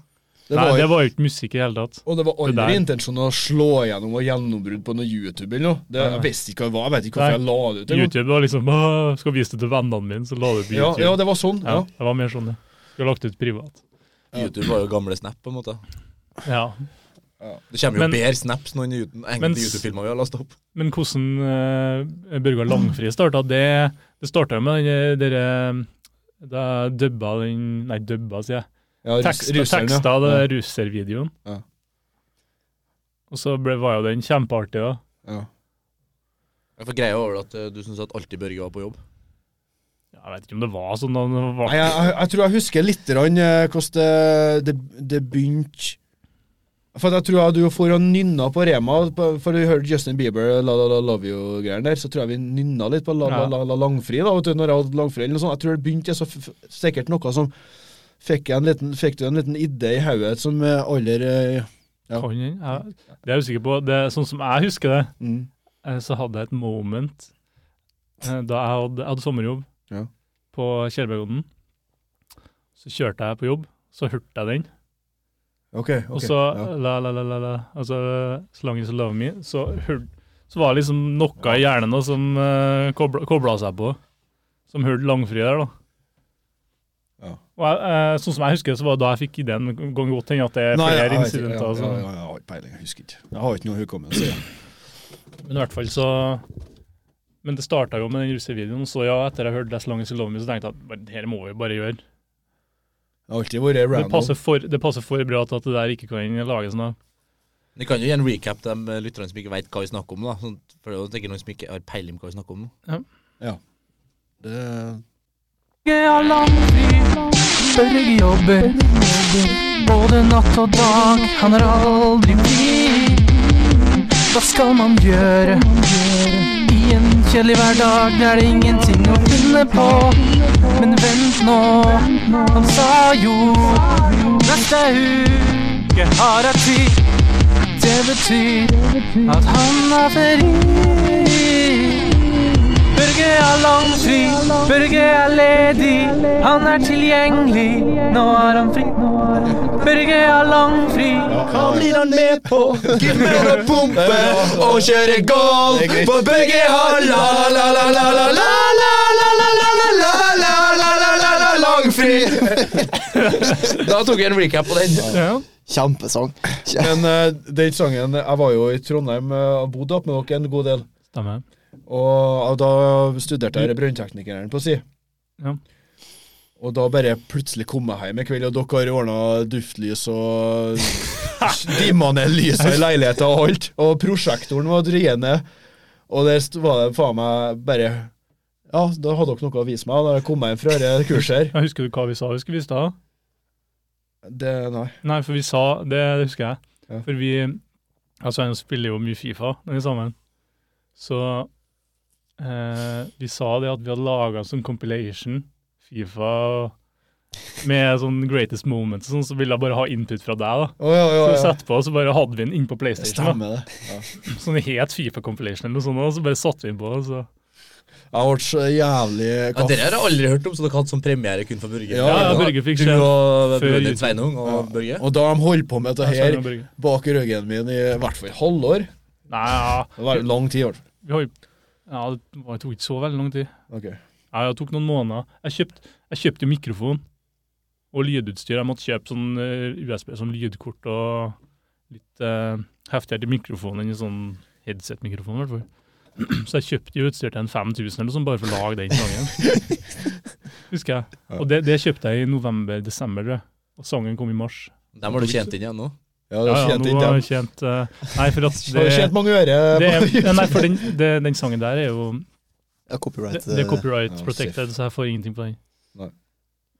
Speaker 1: Det
Speaker 6: Nei,
Speaker 1: var,
Speaker 6: det var jo ikke musikk i det hele tatt.
Speaker 1: Og det var
Speaker 6: Det
Speaker 1: aldri
Speaker 6: der.
Speaker 1: intensjonen å slå gjennom og gjennombrudd på noe YouTube eller noe. Det, jeg
Speaker 6: Nei.
Speaker 1: visste ikke hva det var, jeg vet ikke hvorfor jeg la det ut. engang.
Speaker 6: YouTube var liksom «Åh, 'Skal vise det til vennene mine', så la det på
Speaker 1: Ja,
Speaker 6: YouTube.
Speaker 1: ja, det var sånn. Ja.
Speaker 6: Ja, det var mer sånn, ja. Skulle lagt ut privat.
Speaker 1: Ja.
Speaker 5: YouTube var jo gamle Snap, på en måte.
Speaker 6: Ja.
Speaker 5: Det kommer jo
Speaker 6: Men-
Speaker 5: bedre snaps nå enn i uten- enkelte
Speaker 6: Mens-
Speaker 5: YouTube-filmer vi har lasta opp.
Speaker 6: Men hvordan uh, Børgar Langfri starta, det, det starta jo med den der eh, Da jeg dubba den Nei, dubba, sier jeg.
Speaker 1: Ja,
Speaker 6: Tekst,
Speaker 1: russeren, ja.
Speaker 6: teksta av
Speaker 1: Ja.
Speaker 6: det russervideoen.
Speaker 1: Ja.
Speaker 6: Og så ble, var jo den kjempeartig, da.
Speaker 1: Ja.
Speaker 5: For greia var vel at eh, du syns at alltid Børge var på jobb.
Speaker 6: Jeg vet ikke om det var sånn. da, men det var-
Speaker 1: Nei, jeg, jeg, jeg tror jeg husker litt grann, eh, hvordan det, det, det begynte For at jeg tror jeg du får og nynna på Rema, på- for du hørte Justin Bieber La La La Love You-greiene der, så tror jeg vi nynna litt på La La
Speaker 6: Ja.
Speaker 1: La, la Langfri, da, vet du, når jeg hadde langfri eller noe sånt. Jeg tror det begynte så f f sikkert noe som Fikk, jeg en liten, fikk du en liten idé i hodet som eh, aller eh, ja.
Speaker 6: Kan den? Jeg- Det er jeg usikker på. Det, er sånn som jeg husker det,
Speaker 1: mm.
Speaker 6: eh, så hadde jeg et moment eh, da jeg hadde, jeg hadde sommerjobb
Speaker 1: Ja.
Speaker 6: på Kjellbergodden. Så kjørte jeg på jobb, så hørte jeg den.
Speaker 1: Ok. ok,
Speaker 6: Og så
Speaker 1: ja.
Speaker 6: la, la, la, la, la, altså So long as you love me, så, hør, så var det liksom noe i hjernen da som uh, kobla seg på. Som hørte langfri der, da.
Speaker 1: Ja.
Speaker 6: Og jeg, eh, sånn som jeg husker, det, så var det da jeg fikk ideen. Det Kan godt hende at det er
Speaker 1: Nei, jeg,
Speaker 6: flere
Speaker 1: vet ikke,
Speaker 6: incidenter.
Speaker 1: ja,
Speaker 6: altså.
Speaker 1: ja, ja, jeg har ikke peiling, jeg husker ikke. Jeg har ikke noe hukommelse.
Speaker 6: sånn. Men i hvert fall så Men det starta jo med den russevideoen, så ja, etter jeg hørte Less Long As You Love Me, så tenkte jeg at bare, det her må vi bare gjøre.
Speaker 1: Jeg har alltid vært
Speaker 6: Det
Speaker 1: random.
Speaker 6: passer, for, det passer for bra til at det der ikke kan lages noe.
Speaker 5: Vi kan jo gi en recap til de lytterne som ikke veit hva vi snakker om. da sånn, For det er jo sikkert noen som ikke har peiling på hva vi snakker om. nå.
Speaker 1: Det-
Speaker 7: Børge jobber både natt og dag. Han har aldri fri. Hva skal man gjøre i en kjedelig hverdag? Det er det ingenting å finne på. Men vent nå, han sa jo neste uke har jeg tid. Det betyr at han har ferie. Børge er langfri, Børge er ledig, han er tilgjengelig. Nå er han fri. Børge er langfri.
Speaker 1: Hva blir han med på? Gymmer og pumpe og kjøre golf. For begge har la-la-la-la-la-la-la-la-la-la-la-la-la-la-la langfri.
Speaker 5: Da tok vi en recap på den.
Speaker 6: Ja.
Speaker 3: Kjempesang. Kje-
Speaker 1: Men eh, den sangen Jeg var jo i Trondheim eh, og bodde opp med dere en god del.
Speaker 6: Stemmer.
Speaker 1: Og og da studerte jeg brønnteknikeren på si.
Speaker 6: Ja.
Speaker 1: Og da bare plutselig kom jeg hjem en kveld, og dere har ordna duftlys og dimma ned lysa i leiligheta og alt. Og prosjektoren var driende. Og der st- var det faen meg bare Ja, da hadde dere noe å vise meg da jeg kom meg hjem fra dette kurset her.
Speaker 6: Jeg husker du hva vi sa? Husker vi i stad?
Speaker 1: Det, nei.
Speaker 6: Nei, for vi sa Det husker jeg.
Speaker 1: Ja.
Speaker 6: For vi Altså, han spiller jo mye Fifa, den sammen. Så eh, vi sa det at vi hadde laga en sånn compilation, Fifa med sånn greatest moments og sånn, så ville jeg bare ha input fra deg, da.
Speaker 1: Å ja, ja,
Speaker 6: Så
Speaker 1: ja.
Speaker 6: satt på, så bare hadde vi den inn på PlayStation.
Speaker 1: Stemmer det.
Speaker 6: Da. Sånn het Fifa Compilation eller noe sånt, og så bare satte vi den på. og Så.
Speaker 1: Jeg ble så jævlig
Speaker 5: Ja,
Speaker 1: kaff.
Speaker 5: Dere har jeg aldri hørt om, så dere hadde sånn premiere kun for Børge.
Speaker 1: Ja, ja,
Speaker 6: Børge fikk
Speaker 5: Du
Speaker 6: sjef
Speaker 5: og
Speaker 6: før
Speaker 5: brødrene
Speaker 6: YouTube.
Speaker 5: Sveinung og Børge.
Speaker 1: Og da de holdt på med dette
Speaker 6: Jeg sa
Speaker 1: her
Speaker 6: det, Børge.
Speaker 1: bak ryggen min i i hvert fall et halvår
Speaker 6: Nei, ja,
Speaker 1: Det var lang tid, i hvert fall.
Speaker 6: vi har jo ja, det var- det tok ikke så veldig lang tid.
Speaker 1: Ok.
Speaker 6: Ja, det tok noen måneder. Jeg kjøpte jeg kjøpte jo mikrofon og lydutstyr. Jeg måtte kjøpe sånn eh, USB, sånn lydkort og litt eh, heftigere mikrofon enn en sånn headset-mikrofon, i hvert fall. [CLEARS THROAT] Så jeg kjøpte jo utstyr til en 5000 eller noe sånt, bare for å lage den sangen. Husker jeg. Og det, det kjøpte jeg i november-desember, tror jeg. Og sangen kom i mars.
Speaker 5: Dem har du tjent inn igjen nå.
Speaker 1: Ja, det
Speaker 6: Ja, ja,
Speaker 1: kjente
Speaker 6: nå
Speaker 1: ikke
Speaker 6: har
Speaker 1: dem.
Speaker 6: jeg kjent eh, Nei, for at
Speaker 1: Det, [LAUGHS]
Speaker 6: det,
Speaker 1: har tjent mange øre.
Speaker 6: [LAUGHS] det
Speaker 1: [LAUGHS]
Speaker 6: er, Nei, for den, det, den sangen der er jo
Speaker 3: Ja,
Speaker 6: Det,
Speaker 3: copyright.
Speaker 6: det er
Speaker 3: eh,
Speaker 6: copyright
Speaker 1: ja,
Speaker 6: protected, så jeg får ingenting på den.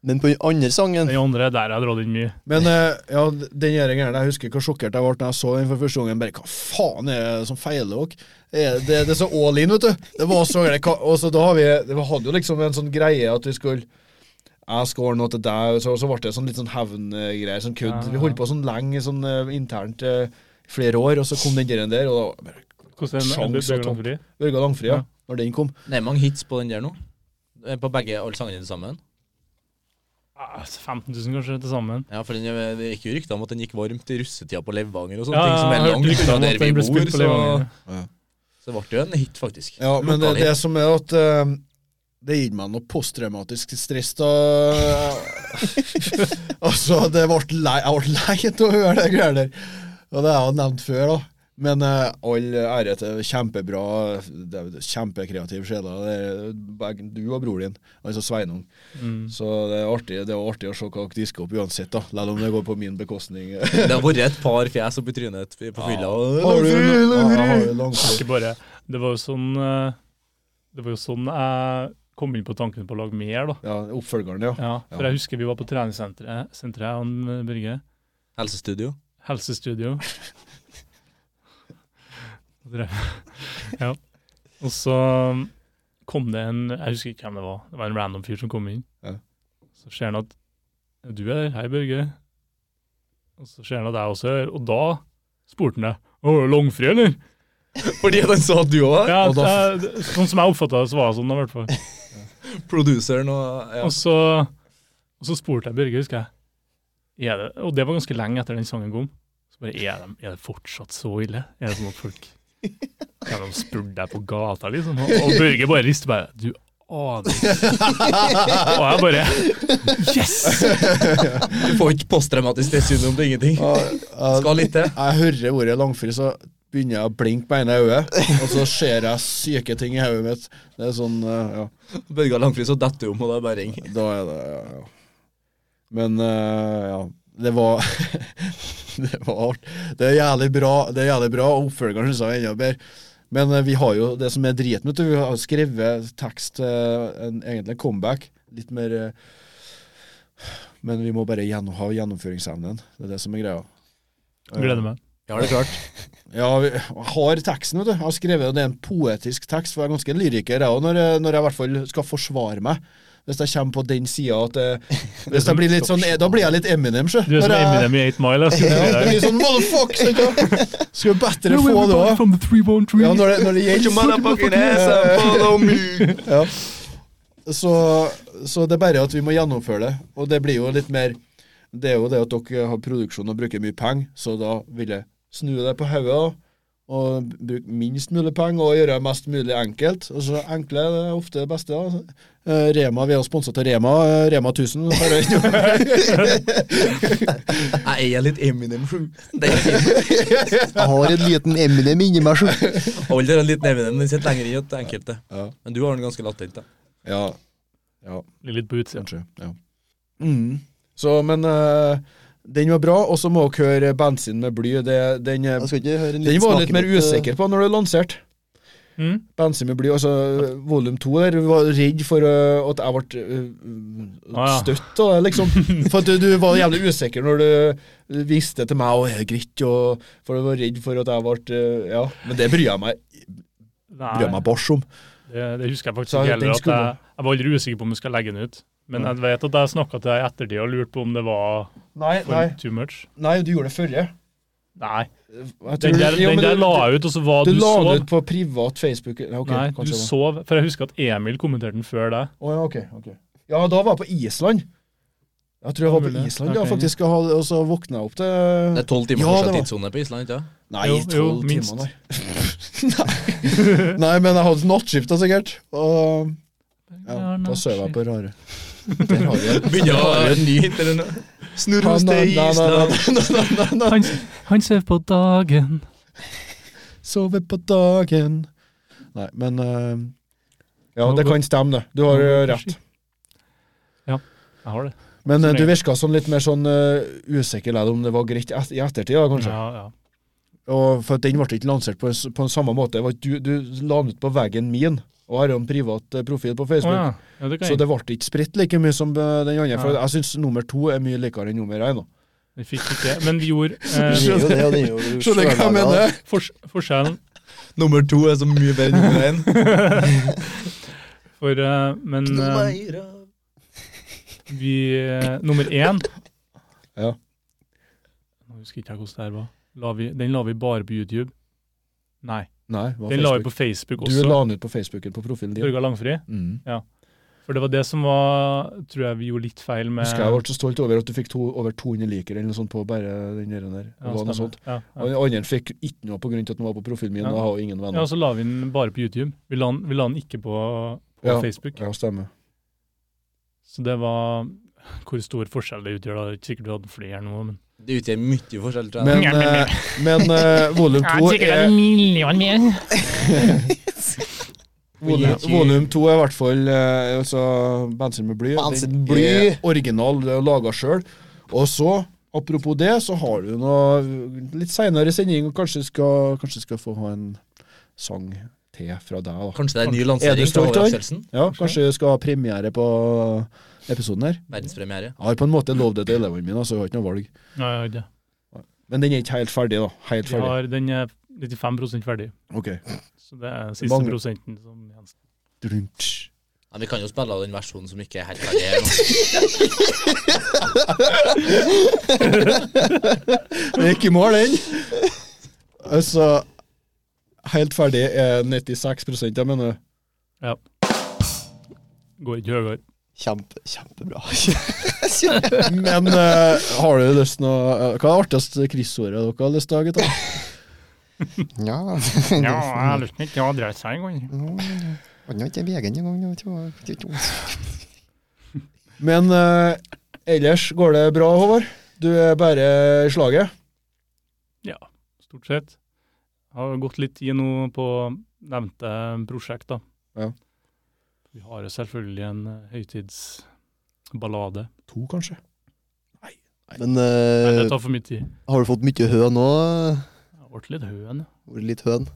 Speaker 3: Men på den andre sangen
Speaker 6: Den andre, der har jeg dratt inn mye.
Speaker 1: Men eh, ja, den her greiene, jeg husker hvor sjokkert jeg ble da jeg så den for første gangen. Bare, Hva faen er det som feiler dere? Er Det, det er så all in, vet du. Det var så greit. Hva- Og så da har vi, vi hadde jo liksom en sånn greie at vi skulle jeg skal ordne noe til deg, og så, så ble det sånn litt sånn hevngreier, sånn kødd.
Speaker 6: Ja, ja.
Speaker 1: Vi holdt på sånn lenge, sånn eh, internt eh, flere år, og så kom den der, en der og da
Speaker 6: Hvordan
Speaker 1: Sjans
Speaker 6: er det-
Speaker 1: og
Speaker 6: det går
Speaker 1: topp.
Speaker 6: fri?
Speaker 1: Børga Langfri, ja.
Speaker 6: Ja.
Speaker 1: Når den kom.
Speaker 5: Det er mange hits på den der nå. Eh, På begge alle sangene til sammen.
Speaker 6: Ah, 15 000 kanskje til sammen.
Speaker 5: Ja, for den, eh, Det gikk jo rykter om at den gikk varmt i russetida på Levanger og sånne
Speaker 6: Ja,
Speaker 5: ting som er
Speaker 6: jeg har
Speaker 5: langt
Speaker 6: hørt rykter
Speaker 5: unna
Speaker 6: om
Speaker 5: der
Speaker 6: at den
Speaker 5: vi
Speaker 6: ble
Speaker 5: bor.
Speaker 6: spilt på
Speaker 5: Så,
Speaker 6: Levanger.
Speaker 5: så det ble jo en hit, faktisk.
Speaker 1: Ja, men det,
Speaker 5: Lokal
Speaker 1: det
Speaker 5: hit.
Speaker 1: som er at eh, det gir meg noe posttraumatisk stress da [LAUGHS] Altså, det ble lei, jeg ble lei av å høre det greiene der. Og det har jeg jo nevnt før, da. Men eh, all ære til kjempebra, det er jo kjempekreativ sjela. Det er begge du og bror din, altså Sveinung.
Speaker 6: Mm.
Speaker 1: Så det er artig, det er jo artig å se hva dere disker opp uansett, da. Selv om det går på min bekostning.
Speaker 5: Det har vært et par fjes oppi trynet på fylla. og-
Speaker 1: [LAUGHS] Har du, har du langfri?
Speaker 6: Ikke bare Det var jo sånn eh, Det var jo sånn jeg kom inn på tanken på å lage mer, da.
Speaker 1: Ja, oppfølgeren, ja.
Speaker 6: Ja, For
Speaker 1: Ja.
Speaker 6: jeg husker vi var på treningssenteret, senteret, jeg og han, eh, Børge.
Speaker 5: Helsestudio.
Speaker 6: helsestudio. Og drev- ja. Og så kom det en Jeg husker ikke hvem det var. Det var en random fyr som kom inn.
Speaker 1: Ja.
Speaker 6: Så ser han at Du er her, hei, Børge. Og så ser han at jeg også er her. Og da spurte han det. Å, er du langfri, eller?
Speaker 5: Fordi at han sa at du òg var
Speaker 6: Ja,
Speaker 1: og da-
Speaker 6: jeg, sånn som jeg oppfatta det, så var det sånn, da, i hvert fall.
Speaker 5: produceren og ja.
Speaker 6: Og så, og så spurte jeg Børge, husker jeg. Er det, og det var ganske lenge etter den sangen kom. Så bare, er det, er det fortsatt så ille? Er det sånn at folk kan de spurte deg på gata, liksom? Og, og Børge bare rister bare, du aner ikke. Og jeg bare, yes!
Speaker 5: Du får ikke posttraumatisk stressyndrom på ingenting.
Speaker 1: Skal
Speaker 5: Skal litt til.
Speaker 1: jeg hører ordet langfri, så begynner jeg å blinke med ene øyet, og så ser jeg syke ting i hodet mitt. Det er sånn, eh, ja.
Speaker 5: Børge har langfri, så detter du om, og det er bare ring.
Speaker 1: Da er det ja, ja. Men eh, ja, det var [LAUGHS] Det var art. Det er jævlig bra, det er jævlig bra og oppfølgeren syns jeg er enda bedre. Men eh, vi har jo det som er driten, vet du. Vi har skrevet tekst, eh, en, egentlig en comeback. Litt mer eh, Men vi må bare gjennom, ha gjennomføringsevnen. Det er det som er greia.
Speaker 6: Gleder meg.
Speaker 5: Ja, det er klart.
Speaker 1: Ja, vi har teksten, vet du. Jeg har skrevet det er en poetisk tekst, for jeg er ganske lyriker jeg òg, når, jeg- når jeg i hvert fall skal forsvare meg. Hvis jeg kommer på den sida at jeg,
Speaker 6: [LAUGHS]
Speaker 1: hvis jeg blir litt sånn, Da blir jeg litt Eminem, sjø.
Speaker 6: Du er som
Speaker 1: Når jeg-
Speaker 6: Eminem i 8 Mile, jeg skulle
Speaker 1: Ja, jeg
Speaker 6: gjøre
Speaker 1: blir
Speaker 6: det.
Speaker 1: sånn motherfuck! sånn, ja.
Speaker 6: [LAUGHS]
Speaker 1: Skulle bedre få det òg.
Speaker 6: From the 313.
Speaker 1: Ja, når det, når det gjelder ja. så, så det er bare at vi må gjennomføre det. Og det blir jo litt mer Det er jo det at dere har produksjon og bruker mye penger, så da vil jeg snu det på hodet da, og bruke minst mulig penger og gjøre det mest mulig enkelt. Og så enkle er det ofte det beste. da. Eh, Rema, Vi er jo sponsa til Rema. eh, Rema [LAUGHS] 1000. Bare
Speaker 5: Jeg er litt Eminem, sju. Det er fint.
Speaker 3: Jeg har en liten Eminem inni meg. sjøl.
Speaker 5: Holder en liten Eminem, den sitter lenger i enn enkelte.
Speaker 1: Ja.
Speaker 5: Men du har den ganske latent, da.
Speaker 1: ja. ja.
Speaker 6: Litt på utsiden.
Speaker 1: Kanskje, ja. Mm. Så, men eh, den var bra, og så må dere høre bensin med bly. Det, den, eh,
Speaker 3: Jeg skal ikke høre en
Speaker 1: den var jeg
Speaker 3: snakke
Speaker 1: litt mer
Speaker 3: eh,
Speaker 1: usikker på når det lanserte.
Speaker 6: Mm.
Speaker 1: Bensin med bly, altså eh, volum to der. Du var redd for eh, at jeg ble eh,
Speaker 6: Ah, ja.
Speaker 1: støtt av det,
Speaker 6: [LAUGHS]
Speaker 1: liksom. For at du, du var jævlig usikker når du eh, viste til meg, og er det greit, og For du var redd for at jeg ble eh, Ja, men det bryr jeg meg, bryr jeg
Speaker 6: Nei,
Speaker 1: meg bars om.
Speaker 6: det, det husker jeg faktisk
Speaker 1: Så
Speaker 6: ikke
Speaker 1: den
Speaker 6: heller. At
Speaker 1: skulle-
Speaker 6: jeg, jeg var aldri usikker på om jeg skal legge den ut. Men jeg vet at jeg snakket til deg i ettertid og lurte på om det var
Speaker 1: Nei,
Speaker 6: for
Speaker 1: nei,
Speaker 6: too much.
Speaker 1: nei, du gjorde det forrige.
Speaker 6: Nei.
Speaker 1: Jeg
Speaker 6: Den
Speaker 1: tror-
Speaker 6: der,
Speaker 1: Ja, men
Speaker 6: den der
Speaker 1: du-
Speaker 6: la jeg ut, og så var
Speaker 1: Du
Speaker 6: du,
Speaker 1: la
Speaker 6: sov.
Speaker 1: den ut på privat Facebook Nei, ok,
Speaker 6: Nei,
Speaker 1: kanskje
Speaker 6: du
Speaker 1: det var.
Speaker 6: sov. For jeg husker at Emil kommenterte den før deg.
Speaker 1: Å, ja, ok, ok. ja, da var jeg på Island. Jeg tror jeg var på
Speaker 6: Mulig.
Speaker 1: Island, ja,
Speaker 6: Ok.
Speaker 1: faktisk. Og hadde- og så våkna jeg opp til
Speaker 5: Det er tolv timer
Speaker 1: Ja, det
Speaker 5: fortsatt
Speaker 1: var-
Speaker 5: tidssone på Island, ikke sant?
Speaker 1: Nei,
Speaker 6: Jo, jo,
Speaker 1: tolv
Speaker 6: minst. [LAUGHS]
Speaker 1: timer, nei. nei. [LAUGHS] Nei, men jeg hadde nattskift da, sikkert. Og ja, da sov jeg på rare. Der har
Speaker 6: [LAUGHS]
Speaker 1: vi det.
Speaker 5: Begynner å nyte eller noe.
Speaker 1: Nei,
Speaker 5: Snurros
Speaker 1: nei, nei,
Speaker 5: til
Speaker 1: nei, nei,
Speaker 5: Island.
Speaker 1: nei, nei, nei.
Speaker 6: [LAUGHS] Han, han sover på dagen.
Speaker 1: Sove på dagen. Nei, men eh, Ja, det kan stemme, det. Du har eh, rett.
Speaker 6: Jeg har det.
Speaker 1: Men
Speaker 6: Som
Speaker 1: eh, du
Speaker 6: regel.
Speaker 1: virka sånn litt mer sånn eh, usikker ledd om det var greit et i ettertid, da, kanskje.
Speaker 6: Ja, ja.
Speaker 1: Og for at Den ble ikke lansert på, en s- på den samme måte. Det var at Du, du la den ut på veggen min, og har jo en privat eh, profil på
Speaker 6: Å,
Speaker 1: Facebook.
Speaker 6: ja. ja, det kan
Speaker 1: Så
Speaker 6: jeg.
Speaker 1: det ble ikke spredt like mye som eh, den andre. For
Speaker 6: Ja.
Speaker 1: jeg syns nummer to er mye likere enn nummer én. da.
Speaker 6: Vi fikk ikke Men vi
Speaker 1: [LAUGHS]
Speaker 6: gjorde
Speaker 3: Det
Speaker 6: eh,
Speaker 3: er jo det, og det er jo
Speaker 1: Skjønner du hva jeg mener?
Speaker 6: fors forskjellen
Speaker 5: Nummer to er så mye bedre enn nummer én.
Speaker 6: for eh,
Speaker 1: [LAUGHS]
Speaker 6: Men eh, vi eh, Nummer én
Speaker 1: Ja.
Speaker 6: Nå husker ikke jeg hvordan det her var. La vi, den la vi bare på YouTube. Nei.
Speaker 1: Nei, det var
Speaker 6: Den la vi
Speaker 1: Facebook.
Speaker 6: på Facebook
Speaker 1: Du
Speaker 6: også.
Speaker 1: la den ut på Facebooken på profilen din.
Speaker 6: Børga Langfri.
Speaker 1: Mm.
Speaker 6: For det var det som var Tror jeg vi gjorde litt feil med
Speaker 1: Husker jeg ble så stolt over at du fikk to, over 200 likere eller noe sånt på bare den der. der.
Speaker 6: Ja,
Speaker 1: det var noe
Speaker 6: stemmer.
Speaker 1: sånt.
Speaker 6: Ja, ja.
Speaker 1: Og den andre fikk ikke noe på grunn til at den var på profilen min,
Speaker 6: Ja.
Speaker 1: og jeg har jo ingen
Speaker 6: Ja,
Speaker 1: venner.
Speaker 6: og så la vi den bare på YouTube. Vi la den, vi la den ikke på, på
Speaker 1: Ja.
Speaker 6: Facebook.
Speaker 1: Ja, stemmer.
Speaker 6: Så det var hvor stor forskjell det utgjør. da. Det er ikke sikkert vi hadde flere nå, men
Speaker 5: Det utgjør mye forskjell, tror
Speaker 1: Men,
Speaker 5: jeg.
Speaker 6: [LAUGHS]
Speaker 1: eh, men eh, volum to er
Speaker 7: million mer.
Speaker 1: Volum, volum 2 er i hvert fall eh, altså bensin med bly.
Speaker 3: Bensin
Speaker 1: Den
Speaker 3: med bly.
Speaker 1: er Original, det er laga sjøl. Og så, apropos det, så har du noe litt seinere sending, og kanskje skal, kanskje skal få ha en sang til fra deg, da.
Speaker 5: Kanskje det er en ny
Speaker 1: Er du
Speaker 5: lansering fra
Speaker 1: stolt,
Speaker 5: Ove
Speaker 1: Oi?
Speaker 5: Akselsen?
Speaker 1: Ja, kanskje vi skal ha premiere på episoden her.
Speaker 5: Verdenspremiere.
Speaker 1: Jeg har på en måte lovd det til elevene mine, så jeg har ikke noe valg.
Speaker 6: Nei, jeg har ikke det.
Speaker 1: Men den er ikke helt ferdig, da. Helt
Speaker 6: Vi
Speaker 1: ferdig.
Speaker 6: har, den er 95 ferdig.
Speaker 1: Ok.
Speaker 6: Så det er siste
Speaker 1: Mangler-
Speaker 6: prosenten som gjenstår.
Speaker 1: Dun, tsch.
Speaker 5: Ja, vi kan jo spille av den versjonen som ikke er helt ferdig. her [LAUGHS] nå.
Speaker 1: Den gikk i mål, den. [LAUGHS] Altså Helt ferdig er 96 jeg mener.
Speaker 6: Går ikke høyere.
Speaker 3: Kjempe, kjempebra. Kjempe.
Speaker 1: Men eh, har du lyst til å Hva er det artigste kryssordet dere har lyst til å ha, gutta?
Speaker 3: [LAUGHS] Ja. [LAUGHS]
Speaker 6: lyst til ikke å adresse her engang.
Speaker 3: Nå er ikke vegan engang. nå, tror jeg.
Speaker 1: Men eh, ellers går det bra, Håvard? Du er bare i slaget?
Speaker 6: Ja, stort sett. Jeg har gått litt tid nå på nevnte prosjekt, da.
Speaker 1: Ja.
Speaker 6: Vi har jo selvfølgelig en eh, høytidsballade.
Speaker 1: To, kanskje.
Speaker 3: Men
Speaker 6: Nei, det
Speaker 3: eh,
Speaker 6: tar for mye tid.
Speaker 3: har du fått mye høn nå?
Speaker 6: Jeg har vært litt høen.
Speaker 3: Vært Litt høn?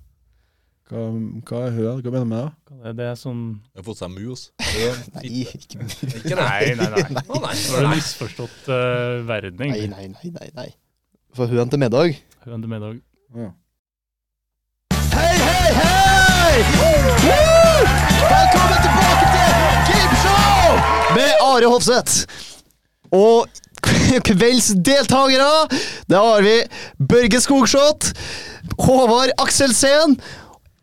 Speaker 1: Hva, hva er høa? Hva mener du med det?
Speaker 6: Hva er det? det er sånn
Speaker 5: Vi har fått seg mus.
Speaker 3: Nei, ikke.
Speaker 5: Ikke det?
Speaker 6: Nei, nei, nei.
Speaker 5: Å, nei.
Speaker 6: Det er en misforstått eh, verden,
Speaker 3: nei,
Speaker 6: egentlig.
Speaker 3: nei, nei. nei, nei. Få høn til middag.
Speaker 6: Høen til middag.
Speaker 1: Ja.
Speaker 3: Hei, hei, hei! Woo! Velkommen tilbake til Gameshow med Are Hofseth. Og [LAUGHS] kvelds deltakere, da har vi Børge Skogshot, Håvard Akselsen,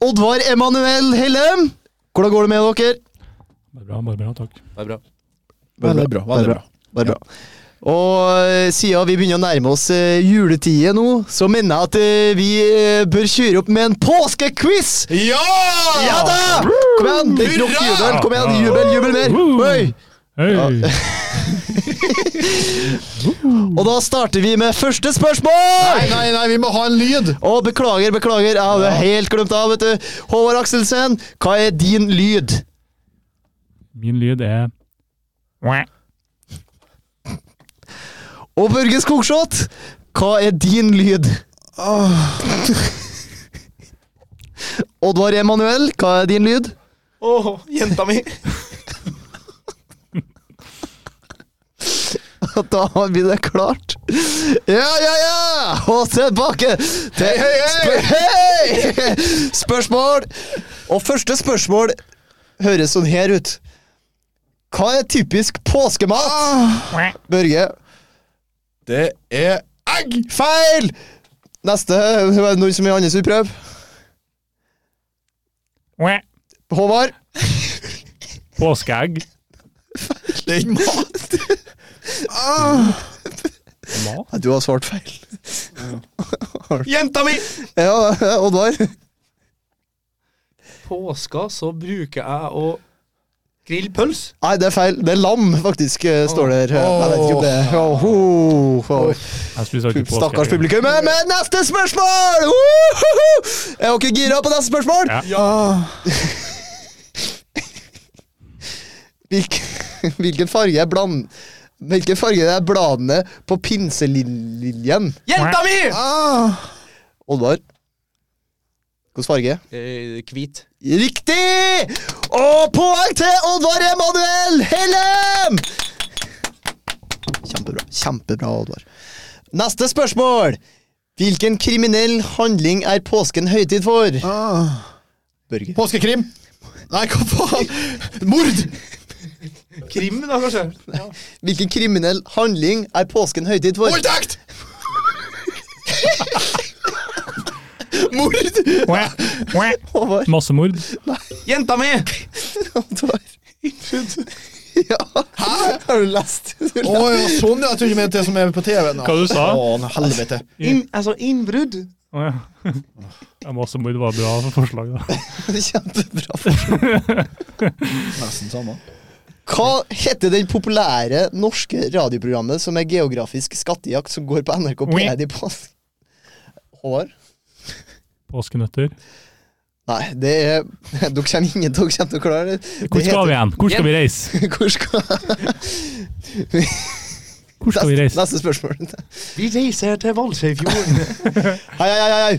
Speaker 3: Oddvar Emanuel Hellem. Hvordan går det med dere?
Speaker 6: Bare bra, bare bra, takk.
Speaker 5: Det er bra.
Speaker 1: Veldig bra. Veldig bra.
Speaker 3: Bare bra. Og eh, siden vi begynner å nærme oss eh, juletiden nå, så mener jeg at eh, vi eh, bør kjøre opp med en påskequiz!
Speaker 1: Ja!
Speaker 3: Ja da! Kom igjen! Det er ikke nok til jubel. Kom igjen, jubel, jubel mer!
Speaker 6: Woo!
Speaker 3: Oi.
Speaker 6: Hei!
Speaker 3: Og da starter vi med første spørsmål!
Speaker 1: Nei, nei, nei, vi må ha en lyd!
Speaker 3: Å, beklager, beklager. Jeg hadde helt glemt av, vet du. Håvard Akselsen, hva er din lyd?
Speaker 6: Min lyd er
Speaker 3: Og Børge Skogshot, hva er din lyd? Oddvar Emanuel, hva er din lyd?
Speaker 2: Åh, jenta mi!
Speaker 3: [LAUGHS] Da har vi det klart. Ja, ja, ja! Og tilbake til hei, hei, Spørsmål! Og første spørsmål høres sånn her ut. Hva er typisk påskemat? Børge.
Speaker 1: Det er egg!
Speaker 3: Feil! Neste. Er det noen som er andre som vil prøve? Håvard.
Speaker 6: påskeegg.
Speaker 1: Det er ikke mat!
Speaker 6: Mat?
Speaker 3: Nei, Du har svart feil.
Speaker 2: Jenta mi!
Speaker 3: Ja, Oddvar.
Speaker 2: Påska så bruker jeg å grille pøls.
Speaker 3: Nei, det er feil. Det er lam, faktisk, eh, står det her. Jeg vet ikke om det Åh, ho, ho.
Speaker 6: Jeg spiser alltid påskeegg.
Speaker 3: Stakkars publikum. Men neste spørsmål! Wohoho! Er dere gira på neste spørsmål? Ah.
Speaker 6: Ja.
Speaker 3: [LAUGHS] Hvilken, hvilken farge er bland... Hvilken farge er bladene på pinseliljen? Ah.
Speaker 2: Jenta mi!
Speaker 3: Oddvar? Hvilken farge?
Speaker 5: Eh, Hvit.
Speaker 3: Riktig! Og poeng til Oddvar Emanuel Hellem! Kjempebra. Kjempebra, Oddvar. Neste spørsmål. Hvilken kriminell handling er påsken høytid for? Børge.
Speaker 1: Påskekrim! Nei, hva faen? Mord!
Speaker 2: Krim, da, kanskje?
Speaker 3: Hvilken kriminell handling er påsken høytid for?
Speaker 1: Voldtekt!
Speaker 3: [LAUGHS] Mord! Håvard.
Speaker 6: Massemord.
Speaker 2: Jenta mi!
Speaker 1: [LAUGHS]
Speaker 3: Oddvar. [LAUGHS] Ja. Hæ? Har du lest? Du
Speaker 1: Å ja, sånn ja. Jeg tror du mente det som er på TV. nå.
Speaker 6: Hva du sa?
Speaker 1: Å,
Speaker 3: [LAUGHS]
Speaker 1: helvete.
Speaker 2: Inn, altså, innbrudd.
Speaker 6: Å ja. [LAUGHS] ja. Massemord var bra for forslag, da. [LAUGHS]
Speaker 3: leste. Kjempebra.
Speaker 1: Nesten samme.
Speaker 3: Hva heter den populære norske radioprogrammet som er geografisk skattejakt, som går på NRK P1 i påske? Håvard?
Speaker 6: Påskenøtter.
Speaker 3: Nei, det er [LAUGHS] Dere kommer ingen til å kommer til å klare det.
Speaker 6: Hvor skal vi hen? Hvor skal vi reise?
Speaker 3: vi? [LAUGHS] Hvor skal
Speaker 6: Hvor skal
Speaker 3: Neste,
Speaker 6: vi reise?
Speaker 3: neste spørsmål.
Speaker 2: [LAUGHS] Vi reiser til Valsøyfjorden.
Speaker 3: [LAUGHS] Hei, hei, hei, hei.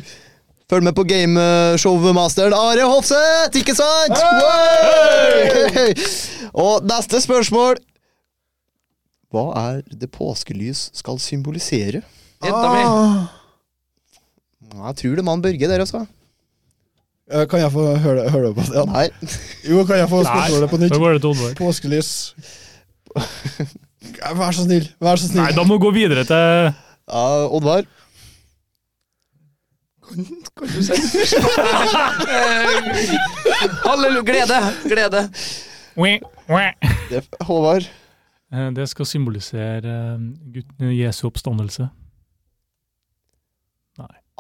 Speaker 3: Følg med på gameshowmasteren Are Hofseth, ikke sant? Hey! Og neste spørsmål Hva er det påskelys skal symbolisere?
Speaker 2: Jenta mi.
Speaker 1: Ah.
Speaker 3: Ja, Jeg tror det er mann Børge der altså. også.
Speaker 1: Eh, Kan jeg få høre, høre på det?
Speaker 3: Nei.
Speaker 1: Jo, kan jeg få
Speaker 6: Nei,
Speaker 1: spørsmålet på nytt?
Speaker 6: da går det til Oddvar.
Speaker 1: Påskelys. Vær så snill, vær så
Speaker 6: Nei,
Speaker 1: snill.
Speaker 6: da må vi gå videre til
Speaker 3: Ja, Oddvar.
Speaker 5: Halleluja. Glede! Glede.
Speaker 3: Det er Håvard.
Speaker 6: Eh, Det skal symbolisere eh, gutt- Jesu oppstandelse.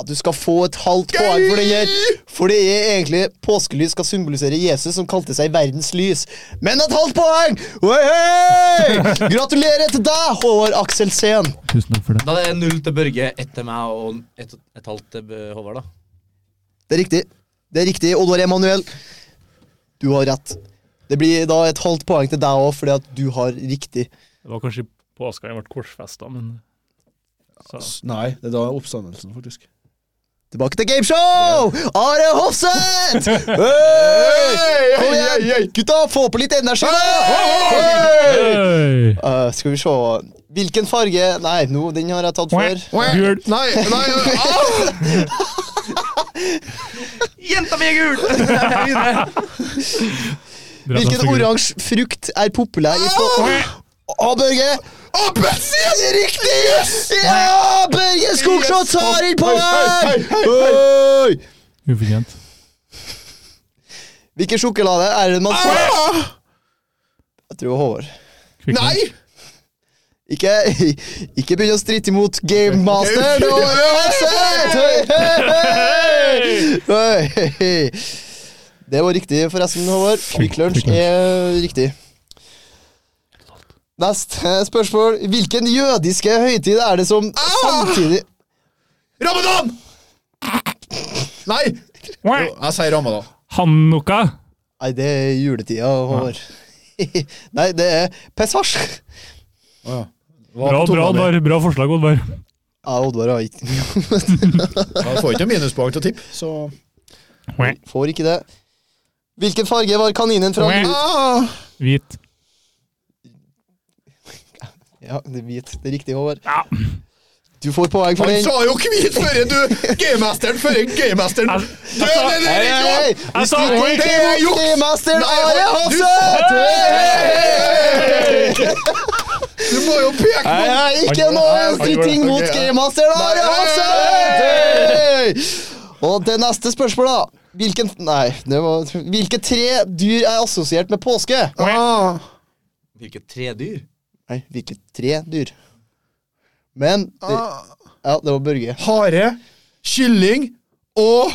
Speaker 3: At du skal få et halvt poeng for den her. For det er egentlig påskelys skal symbolisere Jesus, som kalte seg verdens lys. Men et halvt poeng! Oi, hei! Gratulerer til deg, Håvard Aksel Sehn.
Speaker 6: Tusen takk for det.
Speaker 5: Da er det null til Børge, ett til meg og et, et halvt til eh, Håvard, da.
Speaker 3: Det er riktig. Det er riktig, Oddvar Emanuel. Du har rett. Det blir da et halvt poeng til deg òg, fordi at du har riktig.
Speaker 6: Det var kanskje påska jeg ble korsfesta, men så.
Speaker 1: Nei, det er da oppstandelsen, faktisk.
Speaker 3: Tilbake til gameshow! Are Hofseth!
Speaker 8: [LAUGHS]
Speaker 3: Hey! Kom igjen, gutta! Få på litt energi, da! Hey!
Speaker 6: Hey!
Speaker 3: Eh, skal vi se Hvilken farge Nei, nå, den har jeg tatt før.
Speaker 6: Gul.
Speaker 8: Nei, nei, au!
Speaker 5: Jenta mi er gul!
Speaker 6: Drept av
Speaker 3: Hvilken
Speaker 6: fugler.
Speaker 3: oransje frukt er populær i Skåne? Å, Børge! Appelsin! Riktig! Ja, Børge Skogshot tar inn poeng! Oi!
Speaker 6: Ufortjent.
Speaker 3: Hvilken sjokolade er det man får? Jeg tror Håvard.
Speaker 6: Kvikk
Speaker 8: Nei!
Speaker 3: Ikke, [LAUGHS] ikke begynn å stritte imot gamemaster! nå er det Hofseth! Hei, hei, hei. Hei. Det var riktig, forresten, Håvard. Quick Lunch er riktig. Neste spørsmål. Hvilken jødiske høytid er det som samtidig
Speaker 8: Ramadan! Nei!
Speaker 6: Nei.
Speaker 1: Jeg sier ramadan.
Speaker 6: Hanukka.
Speaker 3: Nei, det er juletida, Håvard. [LAUGHS] Nei, det er pesasj.
Speaker 1: Å ja. Hva
Speaker 6: Bra,
Speaker 1: på
Speaker 6: bra,
Speaker 1: tunga mi?
Speaker 6: Oddvar. Bra forslag, Oddvar.
Speaker 3: Ja, Oddvar har ikke
Speaker 1: Jeg får ikke minuspoeng til å tippe, så
Speaker 3: Får ikke det. Hvilken farge var kaninen fra ah!
Speaker 6: Hvit.
Speaker 3: Ja, det er hvit. Det er riktig, Håvard. Du får poeng for
Speaker 8: Han
Speaker 3: den.
Speaker 8: sa jo ikke hvit før du Gamemasteren før gamemasteren
Speaker 6: Jeg-
Speaker 8: Det er det
Speaker 3: Hei,
Speaker 8: er
Speaker 3: hei,
Speaker 8: ikke
Speaker 3: hei!
Speaker 8: lov!
Speaker 3: Vi
Speaker 6: sa
Speaker 3: stryker
Speaker 6: poeng.
Speaker 3: til
Speaker 8: Det er juks!
Speaker 3: Masteren
Speaker 8: Nei,
Speaker 3: Are
Speaker 8: Håvard, du-
Speaker 3: Hofseth!
Speaker 8: Du må jo peke på
Speaker 3: Hei, hei, Ikke noe stritting mot Gamemasteren Are Hofseth! Og det neste spørsmålet, da. Hvilken Nei, det var Hvilke tre dyr er assosiert med påske?
Speaker 1: Ah.
Speaker 5: Hvilket tredyr?
Speaker 3: Nei, hvilke tre dyr? Men det,
Speaker 8: Ah.
Speaker 3: Ja, det var Børge.
Speaker 1: Hare, kylling og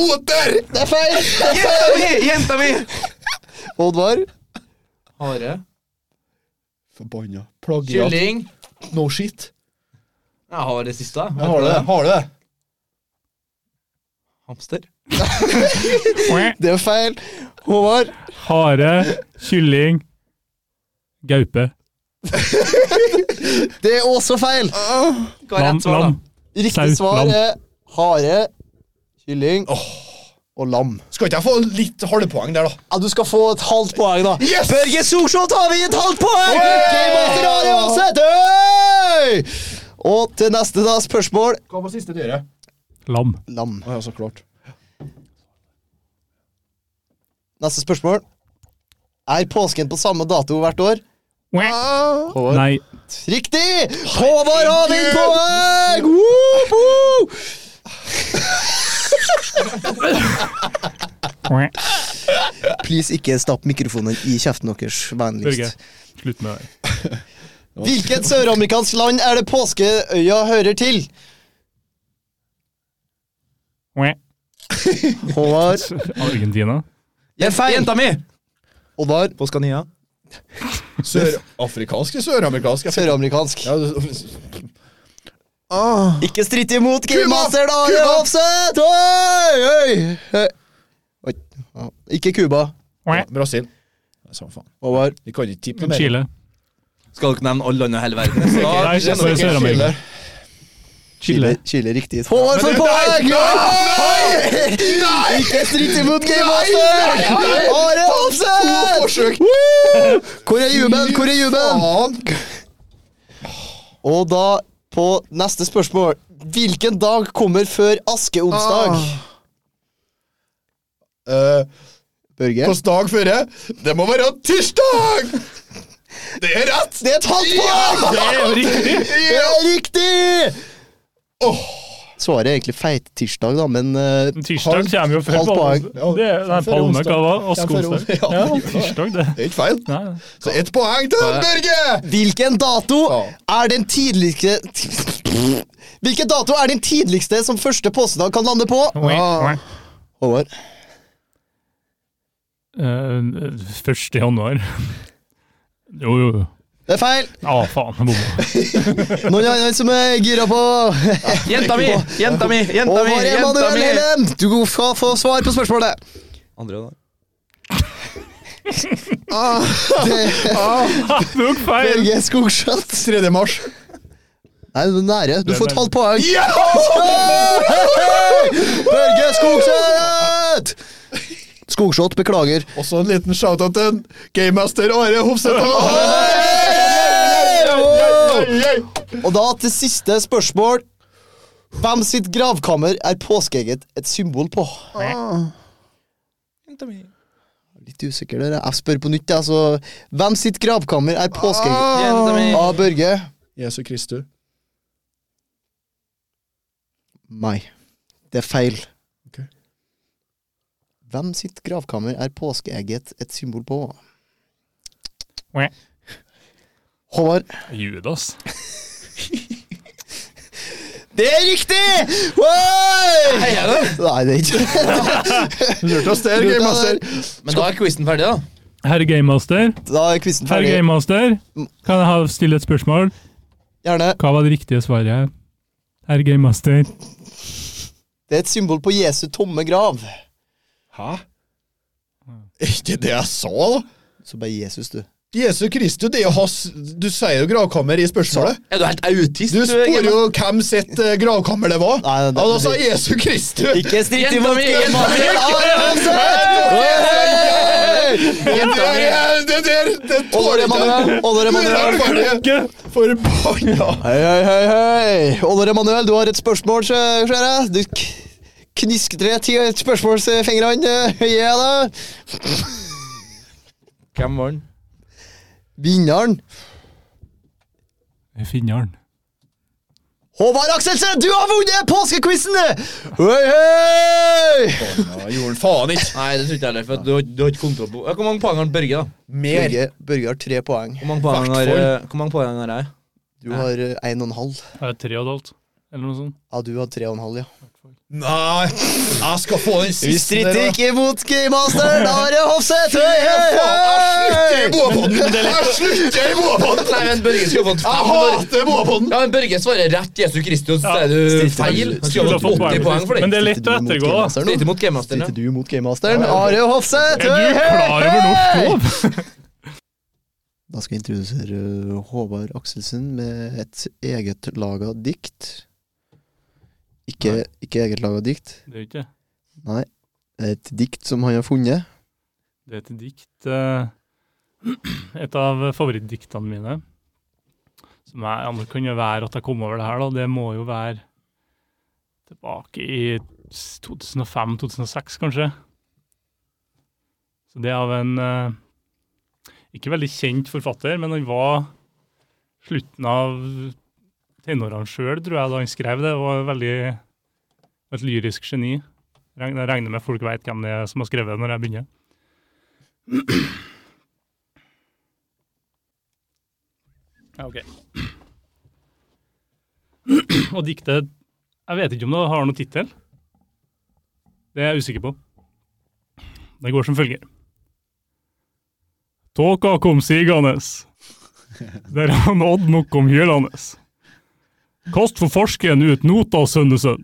Speaker 8: Oter!
Speaker 3: Det er feil!
Speaker 5: Jenta mi! Jenta mi!
Speaker 3: Oddvar?
Speaker 5: Hare.
Speaker 1: Forbanna plagiat.
Speaker 5: Kylling.
Speaker 1: No shit.
Speaker 5: Jeg har det siste.
Speaker 1: Jeg har det. Har du det?
Speaker 5: Hamster.
Speaker 3: Det er feil. Håvard?
Speaker 6: Hare. Kylling. Gaupe.
Speaker 3: Det er også feil.
Speaker 5: Hva er
Speaker 6: Lam.
Speaker 5: rett svar, da?
Speaker 6: lam.
Speaker 3: Riktig
Speaker 6: Saus,
Speaker 3: svar
Speaker 6: lam.
Speaker 3: er hare, kylling og lam.
Speaker 1: Skal ikke jeg få litt halvpoeng der, da?
Speaker 3: Ja, du skal få et halvt poeng, da.
Speaker 1: Yes!
Speaker 3: Børge Solskjær tar vi et halvt poeng! Gameover Are Aaseth, øy! Og til neste da, spørsmål
Speaker 1: Hva var siste dyret?
Speaker 6: Lam.
Speaker 3: Lam.
Speaker 1: Å ja, så klart.
Speaker 3: Neste spørsmål. Er påsken på samme dato hvert år? Håvard.
Speaker 6: Nei.
Speaker 3: Riktig! Håvard har ditt poeng! Woo, woo! Please, ikke stapp mikrofonen i kjeften deres,
Speaker 6: Børge.
Speaker 3: vennligst.
Speaker 6: Slutt med det.
Speaker 3: Hvilket søramerikansk land er det påskeøya hører til? Håvard.
Speaker 6: Argentina.
Speaker 3: [LAUGHS] Det er feil.
Speaker 5: Jenta mi!
Speaker 3: Oddvar,
Speaker 2: På Scania.
Speaker 1: Sørafrikansk eller søramerikansk? Jeg-
Speaker 3: søramerikansk.
Speaker 1: Ja, du- ah.
Speaker 3: Ikke stritt imot
Speaker 1: Cuba!
Speaker 3: Gamemaster, da!
Speaker 1: Cuba!
Speaker 3: Cuba! Offset! Oi, oi! Oi. Ja, Ikke Cuba,
Speaker 1: Ja, Brasil. Nei, Samme faen.
Speaker 3: Håvard.
Speaker 1: Vi kan ikke tippe mer.
Speaker 6: Chile.
Speaker 5: Skal dere nevne alle land i hele verden? Da,
Speaker 6: Nei, ikke bare Sør-Amerika.
Speaker 3: Chile.
Speaker 6: Chile.
Speaker 3: Chile riktig. Håvard får poeng! Nei! Ikke stritt imot Gamemaster! Are Offset!
Speaker 8: Forsøk!
Speaker 3: Hvor er jubelen? Hvor er jubelen? Og da, på neste spørsmål Hvilken dag kommer før askeonsdag?
Speaker 8: Eh,
Speaker 3: Børge?
Speaker 8: Hvilken dag før jeg? Det må være tirsdag! Det er rett!
Speaker 3: Det er et halvt poeng!
Speaker 6: Det er jo riktig!
Speaker 3: Det er riktig! Svaret er egentlig feittirsdag, da, men eh,
Speaker 6: Men Tirsdag kommer jo før
Speaker 3: halvt poeng.
Speaker 6: palme. Det er nei,
Speaker 1: Før
Speaker 6: palme,
Speaker 1: onsdag.
Speaker 6: hva var
Speaker 1: Før
Speaker 6: Askeonsdag?
Speaker 1: onsdag.
Speaker 6: Ja, tirsdag, det.
Speaker 8: Det er ikke feil.
Speaker 6: Nei.
Speaker 8: Så ett poeng til Børge!
Speaker 3: hvilken dato er den tidligste [LAUGHS] Hvilken dato er den tidligste som første påskedag kan lande på? Ah, Håvard.
Speaker 6: Eh, Første januar. Jo, jo.
Speaker 3: Det er feil.
Speaker 6: Ja, faen, jeg bomma.
Speaker 3: Noen andre som er gira på?
Speaker 2: Jenta mi! Jenta mi! Jenta mi!
Speaker 3: Håvard
Speaker 2: Jenta
Speaker 3: Emanuel
Speaker 2: mi!
Speaker 3: Hellem, du skal få svar på spørsmålet.
Speaker 5: Andre
Speaker 3: [LAUGHS]
Speaker 5: da.
Speaker 3: Ah, Det-
Speaker 6: Tok feil!
Speaker 3: Børge Skogskjøtt.
Speaker 8: 3. mars.
Speaker 3: Nei, du er nære. Du
Speaker 6: Det er
Speaker 3: får et
Speaker 6: nære.
Speaker 3: halvt poeng. Hey! Børge Skogskjøtt! Skogskjøtt, beklager.
Speaker 8: Også en liten shout-out til gamemaster Are Hofseth.
Speaker 3: Og da til siste spørsmål. Hvem sitt gravkammer er påskeegget et symbol på?
Speaker 2: Jenta mi.
Speaker 3: Litt usikker, dere. Jeg spør på nytt, jeg. så Hvem sitt gravkammer er påskeegget?
Speaker 2: Jenta mi.
Speaker 3: A. Børge.
Speaker 1: Jesu Kristu.
Speaker 3: Nei. Det er feil.
Speaker 1: Ok.
Speaker 3: Hvem sitt gravkammer er påskeegget et symbol på?
Speaker 6: Mæ.
Speaker 3: Håvard.
Speaker 6: Judas.
Speaker 3: Det er riktig! Oi! Nei, det er
Speaker 5: [LAUGHS]
Speaker 3: ikke
Speaker 8: Lurt oss der, gamemaster.
Speaker 5: Men da er quizen ferdig, da.
Speaker 6: Herr Gamemaster.
Speaker 3: Da er quizen
Speaker 6: Herr
Speaker 3: ferdig.
Speaker 6: Gamemaster, kan jeg ha stille et spørsmål?
Speaker 3: Gjerne.
Speaker 6: Hva var det riktige svaret her? Herr Gamemaster.
Speaker 3: Det er et symbol på Jesu tomme grav.
Speaker 1: Hæ?
Speaker 8: Ikke det jeg sa, da.
Speaker 3: Så bare Jesus, du.
Speaker 8: Jesu Kristu, det er jo hans Du sier jo gravkammer i spørsmålet.
Speaker 5: Er du helt autist?
Speaker 8: Du
Speaker 5: Emma?
Speaker 8: spør jo hvem sitt eh, gravkammer det var.
Speaker 3: Nei, det-
Speaker 8: Og da sa Jesu Kristu!
Speaker 3: Ikke stritt
Speaker 5: Jenta
Speaker 3: imot
Speaker 5: mi, jenta mi.
Speaker 8: Det er- det der Det tåler
Speaker 3: Olor Emanuel! Olor Emanuel!
Speaker 8: ikke! Forbanna!
Speaker 3: Hei, hei, hei, hei! Olor Emanuel, du har et spørsmål, sjø- ser jeg. Du k- knisker tre ti spørsmålsfingrene. Ja da.
Speaker 2: Hvem var den?
Speaker 3: Vinneren
Speaker 6: Finneren.
Speaker 3: Håvard Akselsen, du har vunnet påskequizen! Hei, hei!
Speaker 1: Ja, gjorde han faen ikke.
Speaker 5: Nei, det tror ikke jeg heller. For at du, har- du har ikke kontroll på Hvor mange poeng har Børge, da?
Speaker 1: Mer.
Speaker 3: Børge, Børge har tre poeng.
Speaker 5: Hvor mange poeng har, eh, hvor mange poeng har jeg?
Speaker 3: Du har eh, en og en halv.
Speaker 6: Er det tre og et halvt? Eller noe sånt?
Speaker 3: Ja, du har tre og en halv, ja.
Speaker 1: Nei, jeg skal få den siste.
Speaker 3: Vi stritter ikke imot Gamemaster, da er det Hofseth! Hei,
Speaker 8: Jeg
Speaker 3: hei, hei!
Speaker 8: slutter i boapodden! Jeg slutter i boapodden!
Speaker 5: Nei, men Børge skulle fått
Speaker 8: Jeg hater boapodden!
Speaker 5: Ja, men Børge svarer rett Jesu Kristus, så
Speaker 6: Ja.
Speaker 5: er du
Speaker 3: Stilte-
Speaker 5: feil. Han skulle
Speaker 6: Skulle ha
Speaker 5: fått
Speaker 6: fått
Speaker 5: 80 poeng for det.
Speaker 6: Men det er lett å ettergå, da.
Speaker 5: Stritt imot gamemasteren.
Speaker 3: Sitter du mot Gamemasteren? Are Hofseth!
Speaker 6: Er du klar over norsk lov?
Speaker 3: Da skal jeg introdusere uh, Håvard Akselsen med et eget laga dikt. Ikke, ikke eget laga dikt,
Speaker 6: Det er ikke det.
Speaker 3: nei. Et dikt som han har funnet.
Speaker 6: Det er et dikt eh, Et av favorittdiktene mine. Som er, ja, det kan jo være at jeg kom over det her, da. Det må jo være tilbake i 2005-2006, kanskje. Så det er av en eh, ikke veldig kjent forfatter, men han var slutten av tenårene sjøl, tror jeg, da han skrev det. Og var veldig et lyrisk geni. Regn- Jeg regner med folk veit hvem det er som har skrevet det, når jeg begynner. Ja, ok. [CLEARS THROAT] Og diktet Jeg vet ikke om det har noen tittel. Det er jeg usikker på. Det går som følger. Tåka kom sigende, der han Oddmok kom hylende. Kast for farsken ut nota, sønnesønn.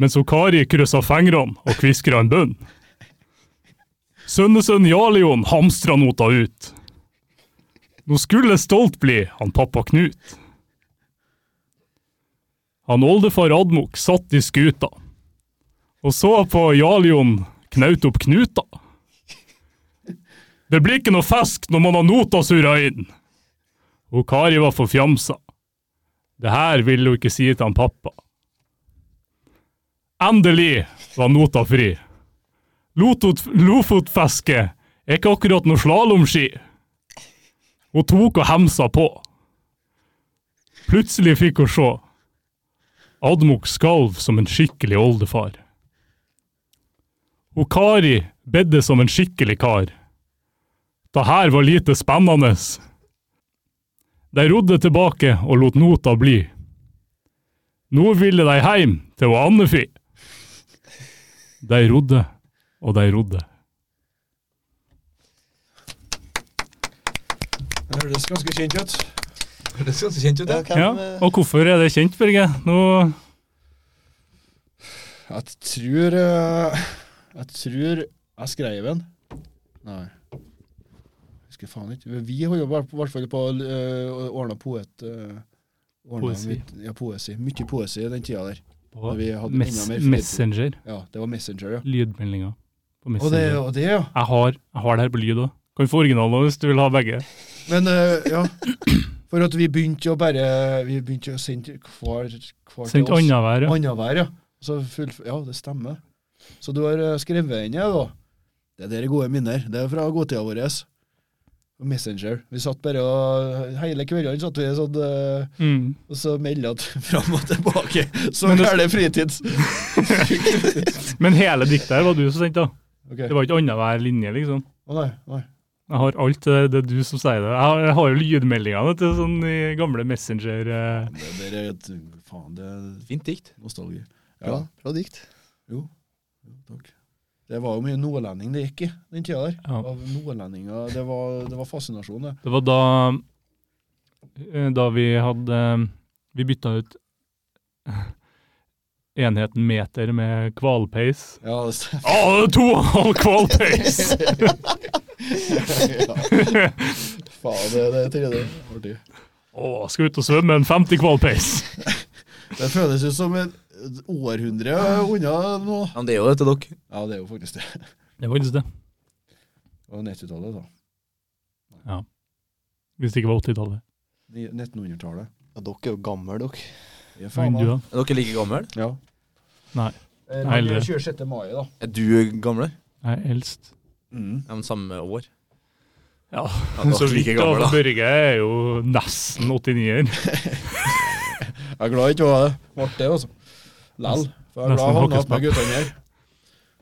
Speaker 6: Mens hun Kari kryssa fingrene og kviskra en bønn. Sønnesønn Jarlion hamstra nota ut. Nå skulle stolt bli han pappa Knut. Han oldefar Admok satt i skuta og så på Jarlion knaut opp knuta. Det blir ikke noe fisk når man har nota surra inn. Og Kari var forfjamsa. Det her ville hun ikke si til han pappa. Endelig var nota fri. Lotot- Lofotfiske er ikke akkurat noe slalåmski. Hun tok og hemsa på. Plutselig fikk hun se. Admok skalv som en skikkelig oldefar. Og Kari bedde som en skikkelig kar. Det her var lite spennende. De rodde tilbake og lot nota bli. Nå ville de hjem til å Annefi. De rodde og de rodde.
Speaker 1: Det høres ganske kjent ut.
Speaker 5: Det høres ganske kjent ut, det.
Speaker 6: Ja, og hvorfor er det kjent, Børge? Nå
Speaker 1: Jeg tror eh, Jeg tror jeg skrev en. Nei. Husker faen ikke. Vi har jo i hvert fall på uh, ordna poet... eh, ordnet
Speaker 6: Poesi.
Speaker 1: mitt- Ja, poesi. Mye poesi i den tida der.
Speaker 6: på
Speaker 1: Da vi hadde enda
Speaker 6: mes
Speaker 1: mer fritid.
Speaker 6: Messenger.
Speaker 1: Ja, det var Messenger, ja.
Speaker 6: Lydmeldinger på
Speaker 1: Og det,
Speaker 6: Messenger.
Speaker 1: og det ja.
Speaker 6: Jeg har, jeg har det her på lyd òg. Kan få originalen også, hvis du vil ha begge.
Speaker 1: Men eh, ja. For at vi begynte å bare Vi begynte å sende hver, hver
Speaker 6: Sendt annenhver. ja.
Speaker 1: Annenhver, ja. Så full, ja, det stemmer. Så du har eh, skrevet inn, ja, da. Det der er gode minner. Det er fra godtida vår. Messenger. Vi satt bare og Hele kveldene satt vi sånn eh,
Speaker 6: Mm.
Speaker 1: og så melda t- [LAUGHS] fram og tilbake. Så
Speaker 6: Men det-
Speaker 1: gæren fritid.
Speaker 6: Men hele diktet her var du som sendte, da.
Speaker 1: Ok.
Speaker 6: Det var ikke annenhver linje, liksom.
Speaker 1: Å nei, nei.
Speaker 6: Jeg har alt det, det er du som sier det. Jeg har, jeg har jo lydmeldingene til sånn i gamle Messenger. eh.
Speaker 1: Det der er et Faen, det er
Speaker 5: Fint dikt.
Speaker 1: nostalgi.
Speaker 3: Bra, bra dikt.
Speaker 1: Takk. Det var jo mye nordlending det gikk i den tida der.
Speaker 6: Ja.
Speaker 1: Av nordlendinger, det var, det var fascinasjon, det.
Speaker 6: Det var da, eh, da vi hadde eh, Vi bytta ut eh, enheten meter med hvalpeis.
Speaker 1: Ja, det [LAUGHS] stemmer.
Speaker 6: Å, det er to og en halv hvalpeis!
Speaker 1: Faen, det, det er tredje. Artig.
Speaker 6: Å, skal ut og svømme en 50 hvalpeis.
Speaker 1: Det føles ut som et et århundre unna nå.
Speaker 5: Ja, men det er jo det til dere.
Speaker 1: Ja, det er jo faktisk det.
Speaker 6: Det var faktisk det.
Speaker 1: Det var 90-tallet, da.
Speaker 6: Hvis det ikke var 80-tallet.
Speaker 1: Ni- 1900-tallet.
Speaker 3: Ja, dere er jo gamle, dere.
Speaker 1: Det er
Speaker 6: Men
Speaker 1: faen
Speaker 6: du,
Speaker 1: meg-
Speaker 6: da?
Speaker 5: Er dere like gamle?
Speaker 1: Ja.
Speaker 6: Nei.
Speaker 1: Eh,
Speaker 6: Nei,
Speaker 1: det
Speaker 6: eller-
Speaker 1: er 26. mai, da.
Speaker 5: Er du gamle?
Speaker 6: Jeg er eldst.
Speaker 5: Ja, men samme år.
Speaker 6: Ja,
Speaker 5: Ja, dere
Speaker 6: så
Speaker 5: er
Speaker 6: vidt,
Speaker 5: like
Speaker 6: da.
Speaker 5: gamle,
Speaker 6: for
Speaker 5: da.
Speaker 6: Børge er jo nesten [LAUGHS] 89-er.
Speaker 1: Jeg er glad ikke var det ble det, altså. Lell. For jeg er glad jeg
Speaker 6: Nesten
Speaker 1: havna
Speaker 6: hakkesmell.
Speaker 1: attmed guttene her.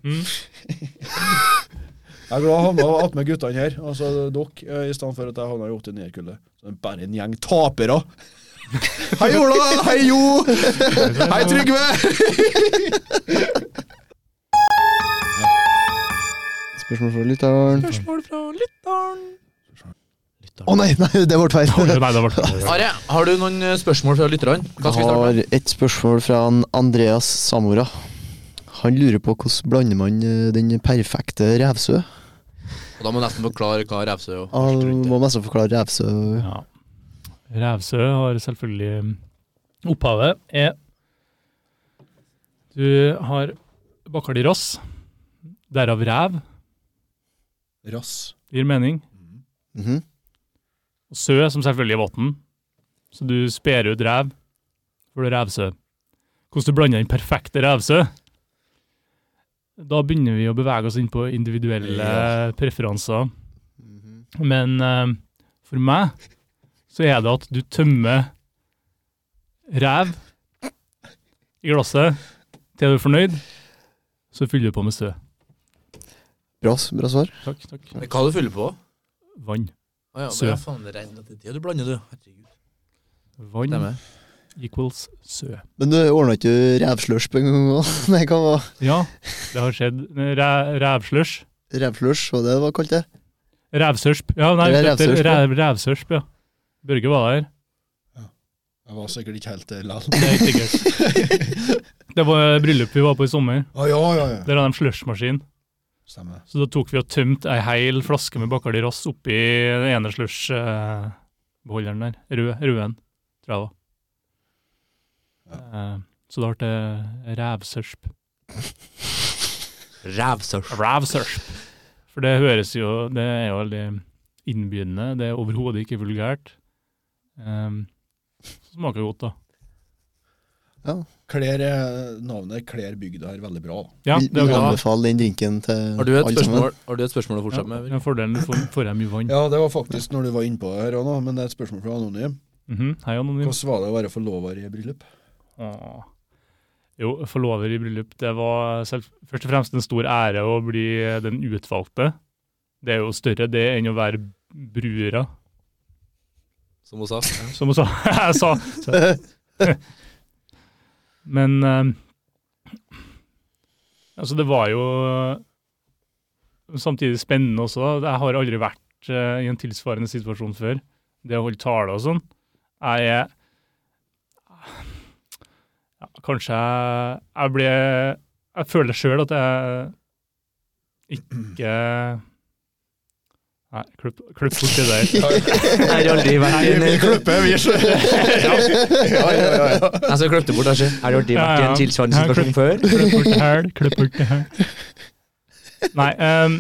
Speaker 6: Mm.
Speaker 1: Jeg er glad jeg havna attmed guttene her, altså dere, eh, i stedet for at jeg havna i 89-kullet. Så det er bare en gjeng [LAUGHS] tapere.
Speaker 3: Hei, Ola! Hei, Jo! Hei, Trygve! Spørsmål fra lytteren.
Speaker 5: Spørsmål fra lytteren.
Speaker 3: Å nei, nei, det ble feil.
Speaker 6: Nei, det ble det.
Speaker 5: Are, har du noen eh, spørsmål fra lytterne? Hva skal vi
Speaker 3: Jeg
Speaker 5: starte med?
Speaker 3: har et spørsmål fra han Andreas Samora. Han lurer på hvordan blander man eh, den perfekte revsø?
Speaker 5: Og da må jeg nesten forklare hva revsø og
Speaker 3: Han
Speaker 5: rundt det.
Speaker 3: må nesten forklare revsø.
Speaker 6: Ja. Rævsø har selvfølgelig mm, Opphavet er Du har bakker de rass, derav ræv,
Speaker 1: Rass.
Speaker 6: det gir mening.
Speaker 3: Mhm.
Speaker 6: Og sø, som selvfølgelig er vann. Så du sper ut ræv, for det er rævsø. Hvordan du blander den perfekte rævsø? Da begynner vi å bevege oss inn på individuelle preferanser. Men eh, for meg så er det at du tømmer ræv i glasset til du er fornøyd, så fyller du på med sø.
Speaker 3: Bra, s- bra svar.
Speaker 6: Takk, takk.
Speaker 5: Men Hva du fyller på?
Speaker 6: Vann.
Speaker 5: Å ja,
Speaker 6: Sø.
Speaker 5: men ja, faen, det regner til tida. Du blander, du. Herregud.
Speaker 6: Vann
Speaker 5: Stemmer.
Speaker 6: equals sø.
Speaker 3: Men du ordna ikke du revslørs på en gang? også? [LAUGHS] Nei, hva var
Speaker 6: Ja, det har skjedd. Ræ- Rævslush.
Speaker 3: revslørs, og det var kalt det?
Speaker 6: Revsørsp. Ja, nei,
Speaker 3: Det er
Speaker 6: revsørsp,
Speaker 3: revsørsp, ja.
Speaker 6: rev, revsørsp, ja. Børge var der.
Speaker 1: Jeg var sikkert ikke helt eh, der likevel.
Speaker 6: Det er ikke sikkert. Det var bryllup vi var på i sommer.
Speaker 1: Å, ja, ja, ja.
Speaker 6: Der hadde de slushmaskin.
Speaker 1: Stemmer.
Speaker 6: Så da tok vi og tømte ei hel flaske med Bacardi Ross oppi den ene slushbeholderen der. Rød, røden, tror jeg det var. Eh, Så da ble det revsørsp.
Speaker 5: Rævsørs.
Speaker 6: Rævsørsp. For det høres jo Det er jo veldig innbydende. Det er overhodet ikke vulgært. Um, smaker godt, da.
Speaker 1: Klær, eh, navnet Klær bygda her veldig bra. da.
Speaker 6: Ja,
Speaker 3: Vi
Speaker 6: det er
Speaker 3: vil
Speaker 6: bra.
Speaker 3: anbefale den drinken til
Speaker 5: Har du et
Speaker 3: alle sammen.
Speaker 5: spørsmål, har du et spørsmål å fortsette
Speaker 6: Ja,
Speaker 5: med?
Speaker 6: den fordelen du får, får jeg mye vann.
Speaker 1: Ja, det var faktisk når du var innpå her òg nå, men det er et spørsmål fra Anonym.
Speaker 6: Mhm, Hei, Anonym.
Speaker 1: Hvordan var det å være forlover i bryllup?
Speaker 6: Åh. Jo, forlover i bryllup, det var selv, først og fremst en stor ære å bli den utvalgte. Det er jo større det enn å være brura,
Speaker 5: Som hun sa.
Speaker 6: som hun sa. [LAUGHS] Jeg sa. sa- Men eh, altså, det var jo samtidig spennende også. da. Jeg har aldri vært eh, i en tilsvarende situasjon før. Det å holde tale og sånn. Jeg er ja, Kanskje jeg, jeg ble Jeg føler sjøl at jeg ikke Nei, klipp klipp bort det der.
Speaker 5: Jeg har aldri vært i en Jeg skal klippe det bort, kanskje. Har du aldri vært i
Speaker 6: Ja, ja.
Speaker 5: en tilsvarende situasjon før?
Speaker 6: Klipp bort det her, klipp bort det her. Nei, ehm,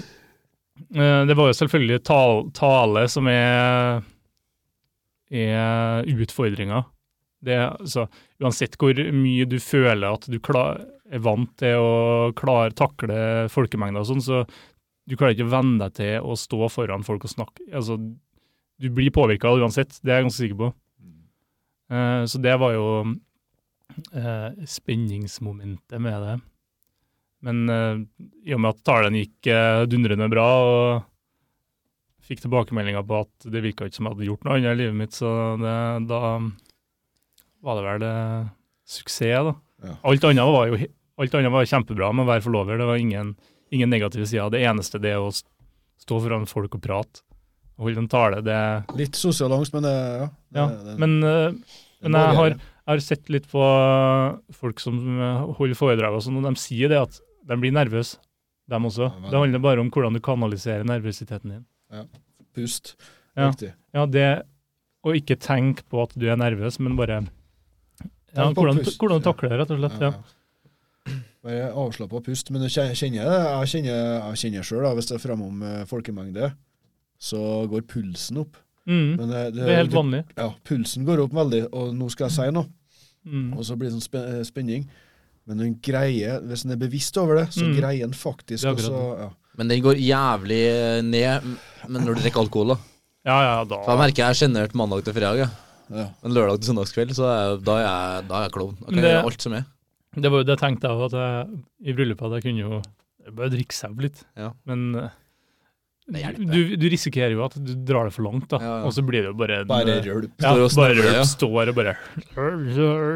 Speaker 6: eh, det var jo selvfølgelig tal, tale som er, er utfordringa. Det, er, altså, uansett hvor mye du føler at du klar, er vant til å klare, takle folkemengder og sånn, så du klarer ikke å venne deg til å stå foran folk og snakke. Altså, du blir påvirka uansett, det er jeg ganske sikker på. Eh, så det var jo eh, spenningsmomentet med det. Men eh, i og med at talen gikk eh, dundrende bra, og fikk tilbakemeldinger på at det virka ikke som jeg hadde gjort noe annet i livet mitt, så det, da var det vel eh, suksess, da.
Speaker 1: Ja.
Speaker 6: Alt annet var jo he- alt annet var kjempebra med å være forlover. Det var ingen, ingen negative sider. Det eneste det å s- stå foran folk og prate og holde en tale, det
Speaker 1: Litt sosialangst, men det, ja. Det-
Speaker 6: Ja.
Speaker 1: det-
Speaker 6: Men eh,
Speaker 1: det
Speaker 6: men
Speaker 1: må
Speaker 6: jeg
Speaker 1: vi
Speaker 6: har,
Speaker 1: gjøre.
Speaker 6: jeg har sett litt på folk som eh, holder foredrag og sånn, og de sier det at de blir nervøse, dem også.
Speaker 1: Ja, men-
Speaker 6: Det handler bare om hvordan du kanaliserer nervøsiteten din.
Speaker 1: Pust.
Speaker 6: Ja.
Speaker 1: Riktig.
Speaker 6: Ja, det å ikke tenke på at du er nervøs, men bare ja,
Speaker 1: Tenk på
Speaker 6: hvordan,
Speaker 1: pust.
Speaker 6: hvordan du takler det, rett og slett. Ja.
Speaker 1: Bare avslappa pust. Men jeg kjenner det. Jeg kjenner, jeg kjenner sjøl, hvis det er framom eh, folkemengde, så går pulsen opp.
Speaker 6: Mm,
Speaker 1: Men det, det,
Speaker 6: det er helt vanlig.
Speaker 1: Ja, pulsen går opp veldig, og nå skal jeg si noe,
Speaker 6: Mm.
Speaker 1: og så blir det sånn spe- eh, spenning. Men den greier, hvis en er bevisst over det, så
Speaker 6: Mm.
Speaker 1: greier en faktisk
Speaker 6: Det er akkurat
Speaker 1: også ja.
Speaker 5: Men den går jævlig eh, ned men når du drikker alkohol, da.
Speaker 6: Ja, ja,
Speaker 5: For jeg
Speaker 6: da.
Speaker 5: merker jeg er sjenert mandag til fredag. Ja.
Speaker 1: Ja.
Speaker 5: Men lørdag til søndagskveld, så er, da, er jeg, da er jeg klovn. Da kan
Speaker 6: Det-
Speaker 5: jeg gjøre alt som er.
Speaker 6: Det var jo det jeg tenkte jeg, at jeg, i bryllupet at jeg kunne jo jeg bare drikke seg opp litt.
Speaker 5: Ja.
Speaker 6: Men eh,
Speaker 5: Det hjelper.
Speaker 6: du, du risikerer jo at du drar det for langt, da.
Speaker 5: Ja, ja.
Speaker 6: Og så blir det jo bare en
Speaker 1: Bare
Speaker 6: eh,
Speaker 1: rølp.
Speaker 6: Ja,
Speaker 5: Står og
Speaker 6: bare
Speaker 5: snøvler, ja.
Speaker 6: røp står og bare
Speaker 1: Men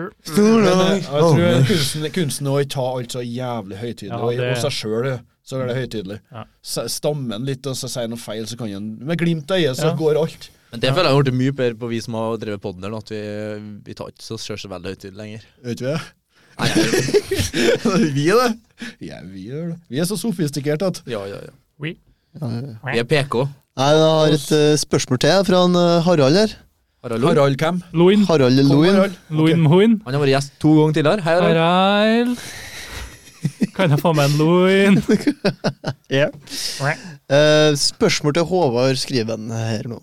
Speaker 1: eh, jeg tror kunsten, kunsten å ikke ta alt så jævlig høytidelig,
Speaker 6: Ja,
Speaker 1: og i-
Speaker 6: det-
Speaker 1: og
Speaker 6: Mm.
Speaker 1: seg sjøl så er det høytidelig.
Speaker 6: Ja.
Speaker 1: S- Stammer en litt og så sier noe feil, så kan en Med glimt i øyet så
Speaker 6: Ja.
Speaker 1: går alt.
Speaker 5: Men det føler jeg har blitt mye bedre på vi som har drevet podden her nå, at vi, vi tar ikke så sjøl så veldig høytidelig lenger.
Speaker 1: Vet vi det?
Speaker 5: Nei, jeg- [LAUGHS]
Speaker 1: vi er det. Ja, vi gjør det. Vi er så sofistikerte at
Speaker 5: ja, ja, ja.
Speaker 3: Ja, ja.
Speaker 5: Vi er PK.
Speaker 3: Nei, Jeg har et eh, spørsmål til jeg, fra han, eh, Harald her.
Speaker 5: Harald Lund.
Speaker 1: Harald hvem?
Speaker 6: Loin,
Speaker 3: Harald Loen.
Speaker 1: Harald.
Speaker 6: loin, moin.
Speaker 5: Han har vært gjest to ganger tidligere. Hei, Harald.
Speaker 6: Harald. Kan jeg få meg en loin?
Speaker 3: Eh, spørsmål til Håvard Skriven her nå.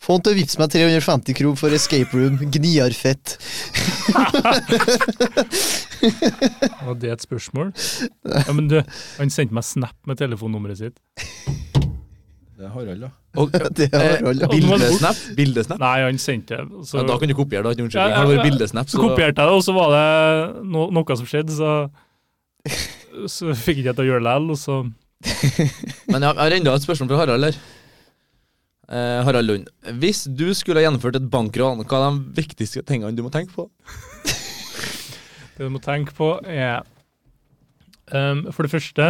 Speaker 3: Få han til å vippse meg 350 kro for Escape Room. Gniarfett.
Speaker 6: Og det er et spørsmål? Ja, men du, han sendte meg snap med telefonnummeret sitt.
Speaker 1: Det er Harald, ja.
Speaker 5: Og,
Speaker 3: Det er Harald.
Speaker 5: eh,
Speaker 3: [LAUGHS] ja.
Speaker 5: bildesnap. Bildesnap.
Speaker 6: Nei, han sendte det. Så,
Speaker 5: Ja, da kan du kopiere, da. Ikke noe
Speaker 6: Ja,
Speaker 5: unnskyldning.
Speaker 6: ja,
Speaker 5: Har det vært
Speaker 6: ja.
Speaker 5: bildesnap,
Speaker 6: så
Speaker 5: så
Speaker 6: kopierte jeg det, og så var det no, noe som skjedde, så så fikk jeg ikke til å gjøre det likevel, og så
Speaker 5: Men jeg jeg har enda et spørsmål fra Harald her. Eh, Harald Lund. Hvis du skulle ha gjennomført et bankran, hva er de viktigste tingene du må tenke på?
Speaker 6: Det du må tenke på, er ehm, For det første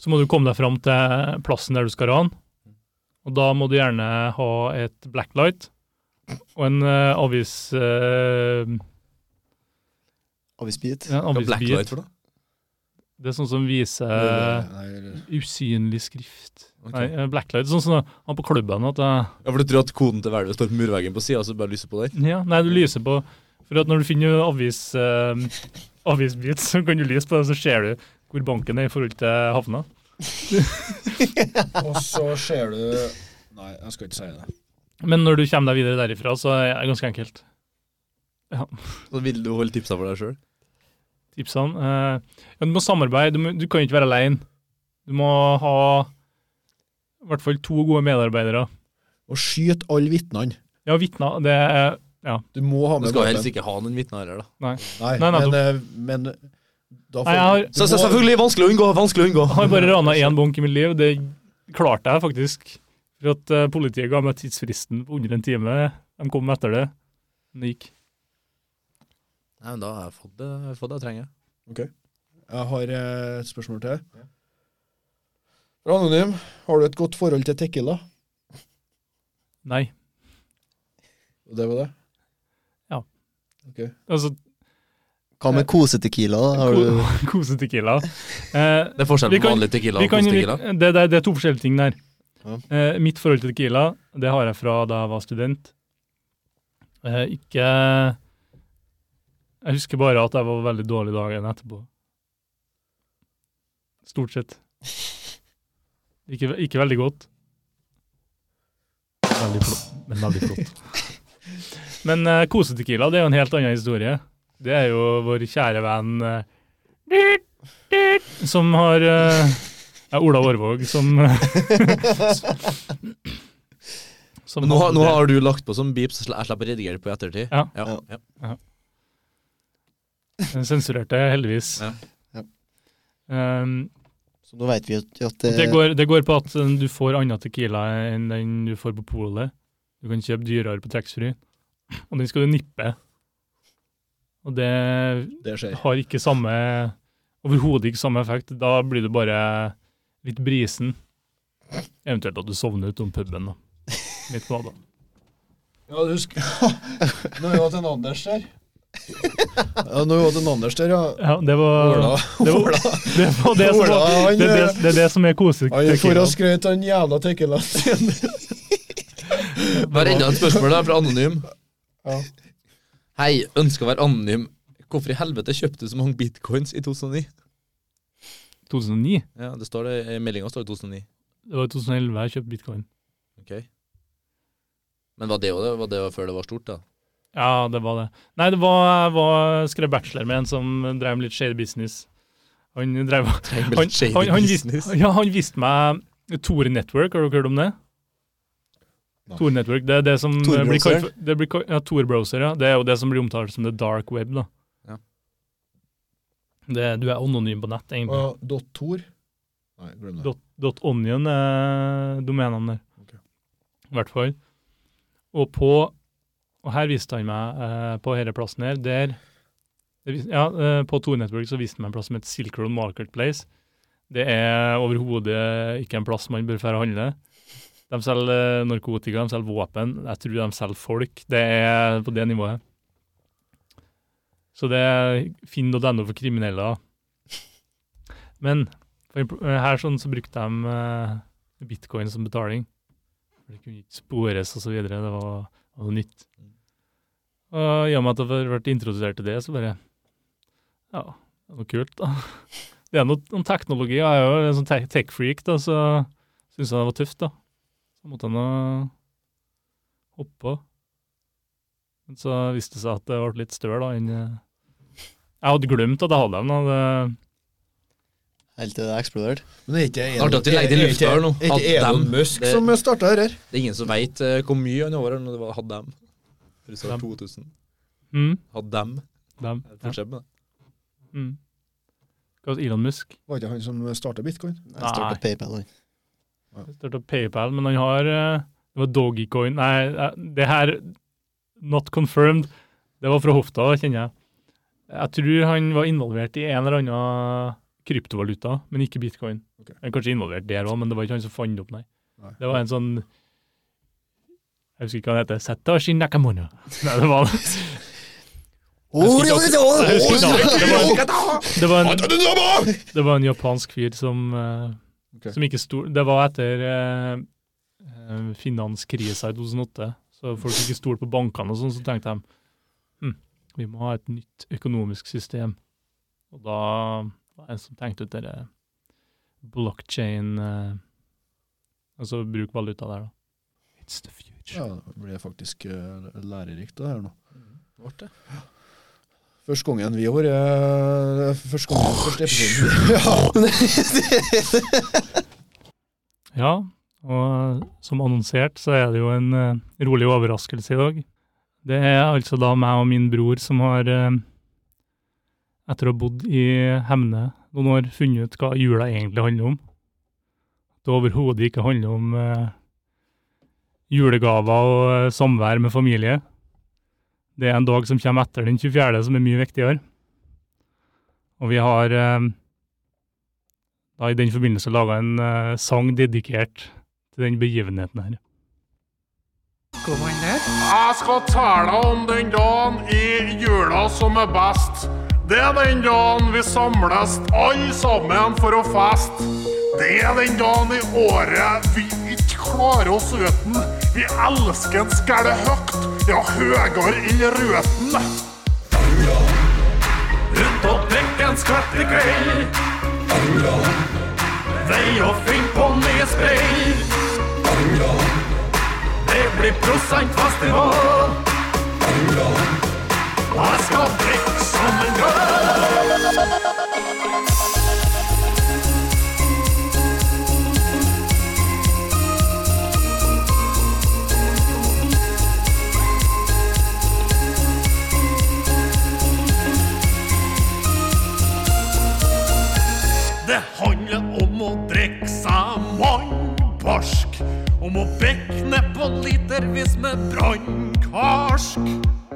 Speaker 6: så må du komme deg fram til plassen der du skal rane. Og da må du gjerne ha et blacklight og en eh, avis... eh,
Speaker 3: Avisbit.
Speaker 6: en
Speaker 5: Hva er
Speaker 6: avisbit.
Speaker 5: blacklight for noe?
Speaker 6: Det er sånn som viser
Speaker 1: Nei, eller-
Speaker 6: usynlig skrift.
Speaker 5: Ok.
Speaker 6: Nei, eh, blacklight. Sånn som han på klubben at jeg
Speaker 5: Ja, for du tror at koden til hvelvet står på murveggen på sida, så du bare lyser på der?
Speaker 6: Ja, nei, du lyser på For at når du finner avis, eh, avisbit, så kan du lyse på det, så ser du hvor banken er i forhold til havna.
Speaker 1: Og så ser du Nei, jeg skal ikke si det.
Speaker 6: Men når du kommer deg videre derifra, så er det ganske enkelt.
Speaker 5: Så vil du holde tipsa for deg sjøl?
Speaker 6: Tipsene eh, ja, Du må samarbeide, du, må, du kan jo ikke være alene. Du må ha i hvert fall to gode medarbeidere.
Speaker 1: Og skyt alle vitnene.
Speaker 6: Ja, vitner, det er
Speaker 1: Du må ha
Speaker 5: Du
Speaker 1: med
Speaker 5: skal jo
Speaker 1: våpen.
Speaker 5: helst ikke ha noen vitner her, da.
Speaker 1: Nei,
Speaker 6: Nei, nei,
Speaker 1: men, eh, men da får
Speaker 6: Nei, jeg har-
Speaker 1: du
Speaker 5: Så, så
Speaker 1: må-
Speaker 5: selvfølgelig, vanskelig å unngå! Vanskelig å unngå!
Speaker 6: Jeg har bare rana én bank i mitt liv. Det klarte jeg faktisk. For at eh, politiet ga meg tidsfristen på under en time. De kom etter det. Men det gikk.
Speaker 5: Nei, men da har jeg fått det jeg, har fått det jeg trenger.
Speaker 1: Jeg har eh, et spørsmål til. Fra Anonym, har du et godt forhold til Tequila?
Speaker 6: Nei.
Speaker 1: Og Det var det.
Speaker 6: Altså,
Speaker 3: Hva med kosetequila? da? Har du
Speaker 6: [LAUGHS] kosetequila. Eh,
Speaker 5: Det er forskjell
Speaker 6: Vi
Speaker 5: på
Speaker 6: kan-
Speaker 5: vanlig tequila
Speaker 6: vi
Speaker 5: og
Speaker 6: kan, vi,
Speaker 5: kos-tequila.
Speaker 6: det, det, det er to forskjellige ting der.
Speaker 1: Ja.
Speaker 6: Eh, mitt forhold til tequila, det har jeg fra da jeg var student. Eh, ikke Jeg husker bare at jeg var veldig dårlig dagen etterpå. Stort sett. Ikke, ikke veldig godt. Veldig flott, men veldig flott. [LAUGHS] men eh, kosetequila, det er jo en helt annen historie. Det er jo vår kjære venn eh, dyrt, dyrt, som har eh, ja, Ola Aarvåg som [LAUGHS] Som
Speaker 5: Men nå, har-
Speaker 6: hadde
Speaker 5: nå
Speaker 6: det.
Speaker 5: har du lagt på som beep, så sl- jeg slipper å redigere på i ettertid.
Speaker 6: Ja.
Speaker 5: Ja. ja.
Speaker 6: Den sensurerte, heldigvis.
Speaker 5: Ja.
Speaker 3: Ja.
Speaker 6: Um,
Speaker 3: Så nå veit vi at at det,
Speaker 6: det, går, det går på at uh, du får annen tequila enn den du får på polet. Du kan kjøpe dyrere på taxfree, og den skal du nippe. Og det
Speaker 1: Det skjer.
Speaker 6: har ikke samme Overhodet ikke samme effekt. Da blir du bare litt brisen. Eventuelt at du sovner utom puben, da. Midt på da.
Speaker 1: Ja, du husker [LAUGHS] Nå er jo til Anders der. Ja, nå er jo til Anders der, ja.
Speaker 6: [LAUGHS] Ja, det var
Speaker 1: Ola,
Speaker 6: [LAUGHS] Det var
Speaker 1: Ola,
Speaker 6: det, var det, som
Speaker 1: Ola
Speaker 6: var,
Speaker 1: han,
Speaker 6: det, er det, det er det som er
Speaker 1: han for
Speaker 6: kosetequila.
Speaker 1: å skrøyte den jævla tequilaen sin.
Speaker 5: Bare enda et spørsmål der fra Anonym.
Speaker 1: Ja.
Speaker 5: Hei, ønsker å være anonym. Hvorfor i helvete kjøpte du så mange bitcoins i 2009?
Speaker 6: 2009?
Speaker 5: Ja, det står det, I meldinga står det 2009.
Speaker 6: Det var i 2011 jeg kjøpte bitcoin.
Speaker 5: Ok. Men var det jo det? Var det før det var stort, da?
Speaker 6: Ja, det var det. Nei, det var, jeg var, skrev bachelor med en som drev med litt shady business. Han drev
Speaker 5: Trenger
Speaker 6: han,
Speaker 5: litt shady
Speaker 6: han, han,
Speaker 5: business.
Speaker 6: visste, ja, han visste meg Tor Network, har dere hørt om det?
Speaker 1: Nei.
Speaker 6: Tor Network, det er det som eh,
Speaker 3: Tor
Speaker 6: blir
Speaker 3: Browser?
Speaker 6: kalt for- det blir kalt- Ja, Tor Browser, ja. Det er jo det som blir omtalt som the dark web, da.
Speaker 5: Ja.
Speaker 6: Det, du er anonym på nett, egentlig.
Speaker 1: [LAUGHS] Og Dot Tor. Nei, glem det.
Speaker 6: Dot, dot .onion er domenene der.
Speaker 1: Ok.
Speaker 6: I hvert fall. Og på Og her viste han meg eh, på denne plassen her, der det vis- Ja, eh, på Tor Network så viste han meg en plass som heter Silk Road Marketplace. Det er overhodet ikke en plass man bør fære å handle. De selger eh, narkotika, de selger våpen, jeg tror de selger folk. Det er på det nivået. Så det er finn.no for kriminelle. da. Men for imp- eh, her sånn så brukte de eh, bitcoin som betaling. For Det kunne ikke spores og så videre, det var, var noe nytt. Og i og med at jeg har vært introdusert til det, så bare, ja, det er noe kult da. [LAUGHS] Det er noe om teknologi, jeg er jo en sånn te- tech-freak da, så synes jeg det var tøft da. Så måtte jeg nå hoppe på. Men så viste det seg at det ble litt større da, enn... eh, Jeg hadde glemt at jeg hadde dem da, det...
Speaker 3: helt til det eksploderte.
Speaker 1: Men er ikke
Speaker 5: Artig at de legger det i lufta her nå.
Speaker 1: Er
Speaker 5: At
Speaker 1: ikke Elon
Speaker 5: dem-
Speaker 1: Musk
Speaker 5: det-
Speaker 1: som starta her?
Speaker 5: Det er ingen som veit hvor mye han over når det var hadde dem. For det står 2000.
Speaker 6: Mm,
Speaker 5: Hadde dem.
Speaker 6: dem,
Speaker 5: Er det
Speaker 6: ja.
Speaker 5: forskjell på det?
Speaker 6: Mm. Hva var Elon Musk?
Speaker 1: Var ikke han som starta bitcoin?
Speaker 3: Jeg
Speaker 6: Ah.
Speaker 3: starta PayPal. jeg.
Speaker 6: Starta PayPal, men han har eh, Det var Dogecoin Nei, eh, det her Not confirmed. Det var fra hofta, kjenner jeg. Jeg tror han var involvert i en eller annen kryptovaluta, men ikke bitcoin. Jeg er kanskje involvert der òg, men det var ikke han som fant det opp, nei.
Speaker 1: Nei.
Speaker 6: Det var en sånn Jeg husker ikke hva han heter. Satoshi Nakamono. Nei, det var Jeg husker ikke navnet. Det var en- Det var en det var en japansk fyr som, eh,
Speaker 1: Ok.
Speaker 6: som ikke stol... Det var etter eh, eh, finanskrisa i 2008, så folk ikke stolte på bankene og sånn, så tenkte de hm, vi må ha et nytt økonomisk system. Og da var det en som tenkte ut dere blockchain eh, Altså bruk valuta der, da. It's the future.
Speaker 1: Ja, Mm, det blir faktisk eh, lærerikt det her nå.
Speaker 5: Vart det?
Speaker 1: Første gangen vi har eh, Første gangen første episoden. [LAUGHS] Ja.
Speaker 6: Ja, og som annonsert så er det jo en eh, rolig overraskelse i dag. Det er altså da meg og min bror som har, eh, etter å ha bodd i Hemne noen år, funnet ut hva jula egentlig handler om. Det overhodet ikke handler om eh, julegaver og eh, samvær med familie. Det er en dag som kommer etter den 24. som er mye viktigere. Og vi har eh, da i den forbindelse laga en eh, sang dedikert til den begivenheten her.
Speaker 9: Jeg skal tale om den dagen i jula som er best. Det er den dagen vi samles alle sammen for å feste. Det er den dagen i året vi ikke klarer oss uten. Vi elsker en skæle høyt, ja høyere enn røten. Rundt og drikke en skvett i kveld. Vei og finn på nye spill. Det blir prosentfestival. Og jeg skal drikke som en gøy. Det handler om å drikke seg mannbarsk. Om å bikke nedpå litervis med brannkarsk.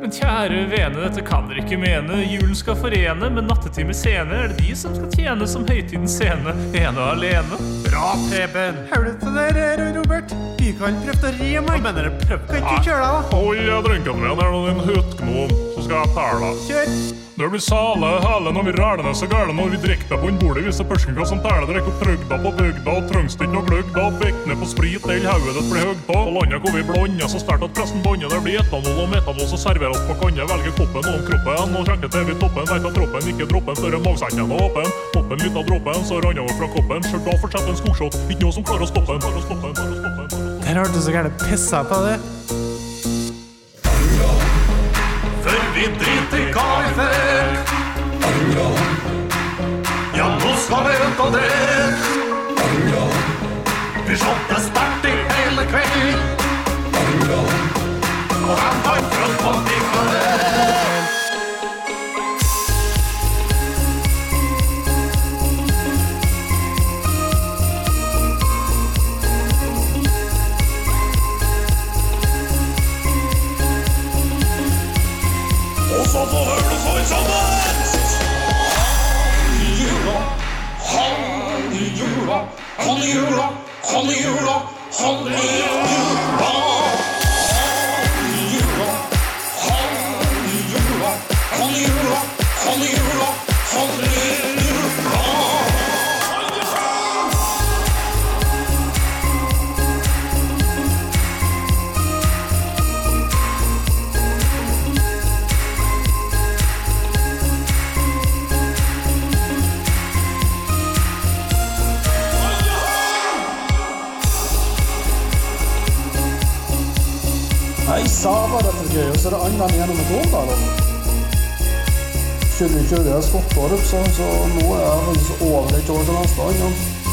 Speaker 6: Men kjære vene, dette kan dere ikke mene. Julen skal forene, men nattetimer sene er det de som skal tjene som høytidens scene, ene og alene.
Speaker 9: Bra, Preben.
Speaker 7: Hører du det der, Robert? Bykaren prøvde å ri meg. Mener du prøvde? Kan ikke kjøre deg,
Speaker 9: Hold drinkene mine, er det en høtgnom, så skal jeg telle.
Speaker 7: da? Kjør!
Speaker 9: Det blir sale hæle når vi ræler ned så gæle når vi drikker deg på en bordet hvis det pørsken hva som tæler drekk opp trøgda på bygda og trengs det ikke noe gløgg da bekk ned på sprit eller hauet ditt blir høgda og landet hvor vi blander så sterkt at pressen bånder det blir etanol og metanol som serveres på kanne velger koppen om kroppen og kjekke til vi toppen veit at troppen ikke droppen før magesekken er åpen toppen litt av dråpen så rann over fra koppen sjøl da fortsetter en skogshot ikke noe som klarer å stoppe den klarer å stoppe den klarer å stoppe den
Speaker 7: Der har du så gærent pissa på det.
Speaker 9: For vi driter hva vi fer Ja, nå skal vi ut og drikke Vi shotter sterkt i hele kveld Og han har følt på de kveld Og så får høyre for sammen Jula, han i jula Han i jula, han i jula Han i jula Han i jula, han i jula Han i jula, han i jula Han i jula
Speaker 10: Nei, sava dette gøy, og så er det andan gjennom et rom, da, eller? Skjønner ikke det, jeg skotter opp, så, så nå er jeg faktisk over det kjøret til neste gang.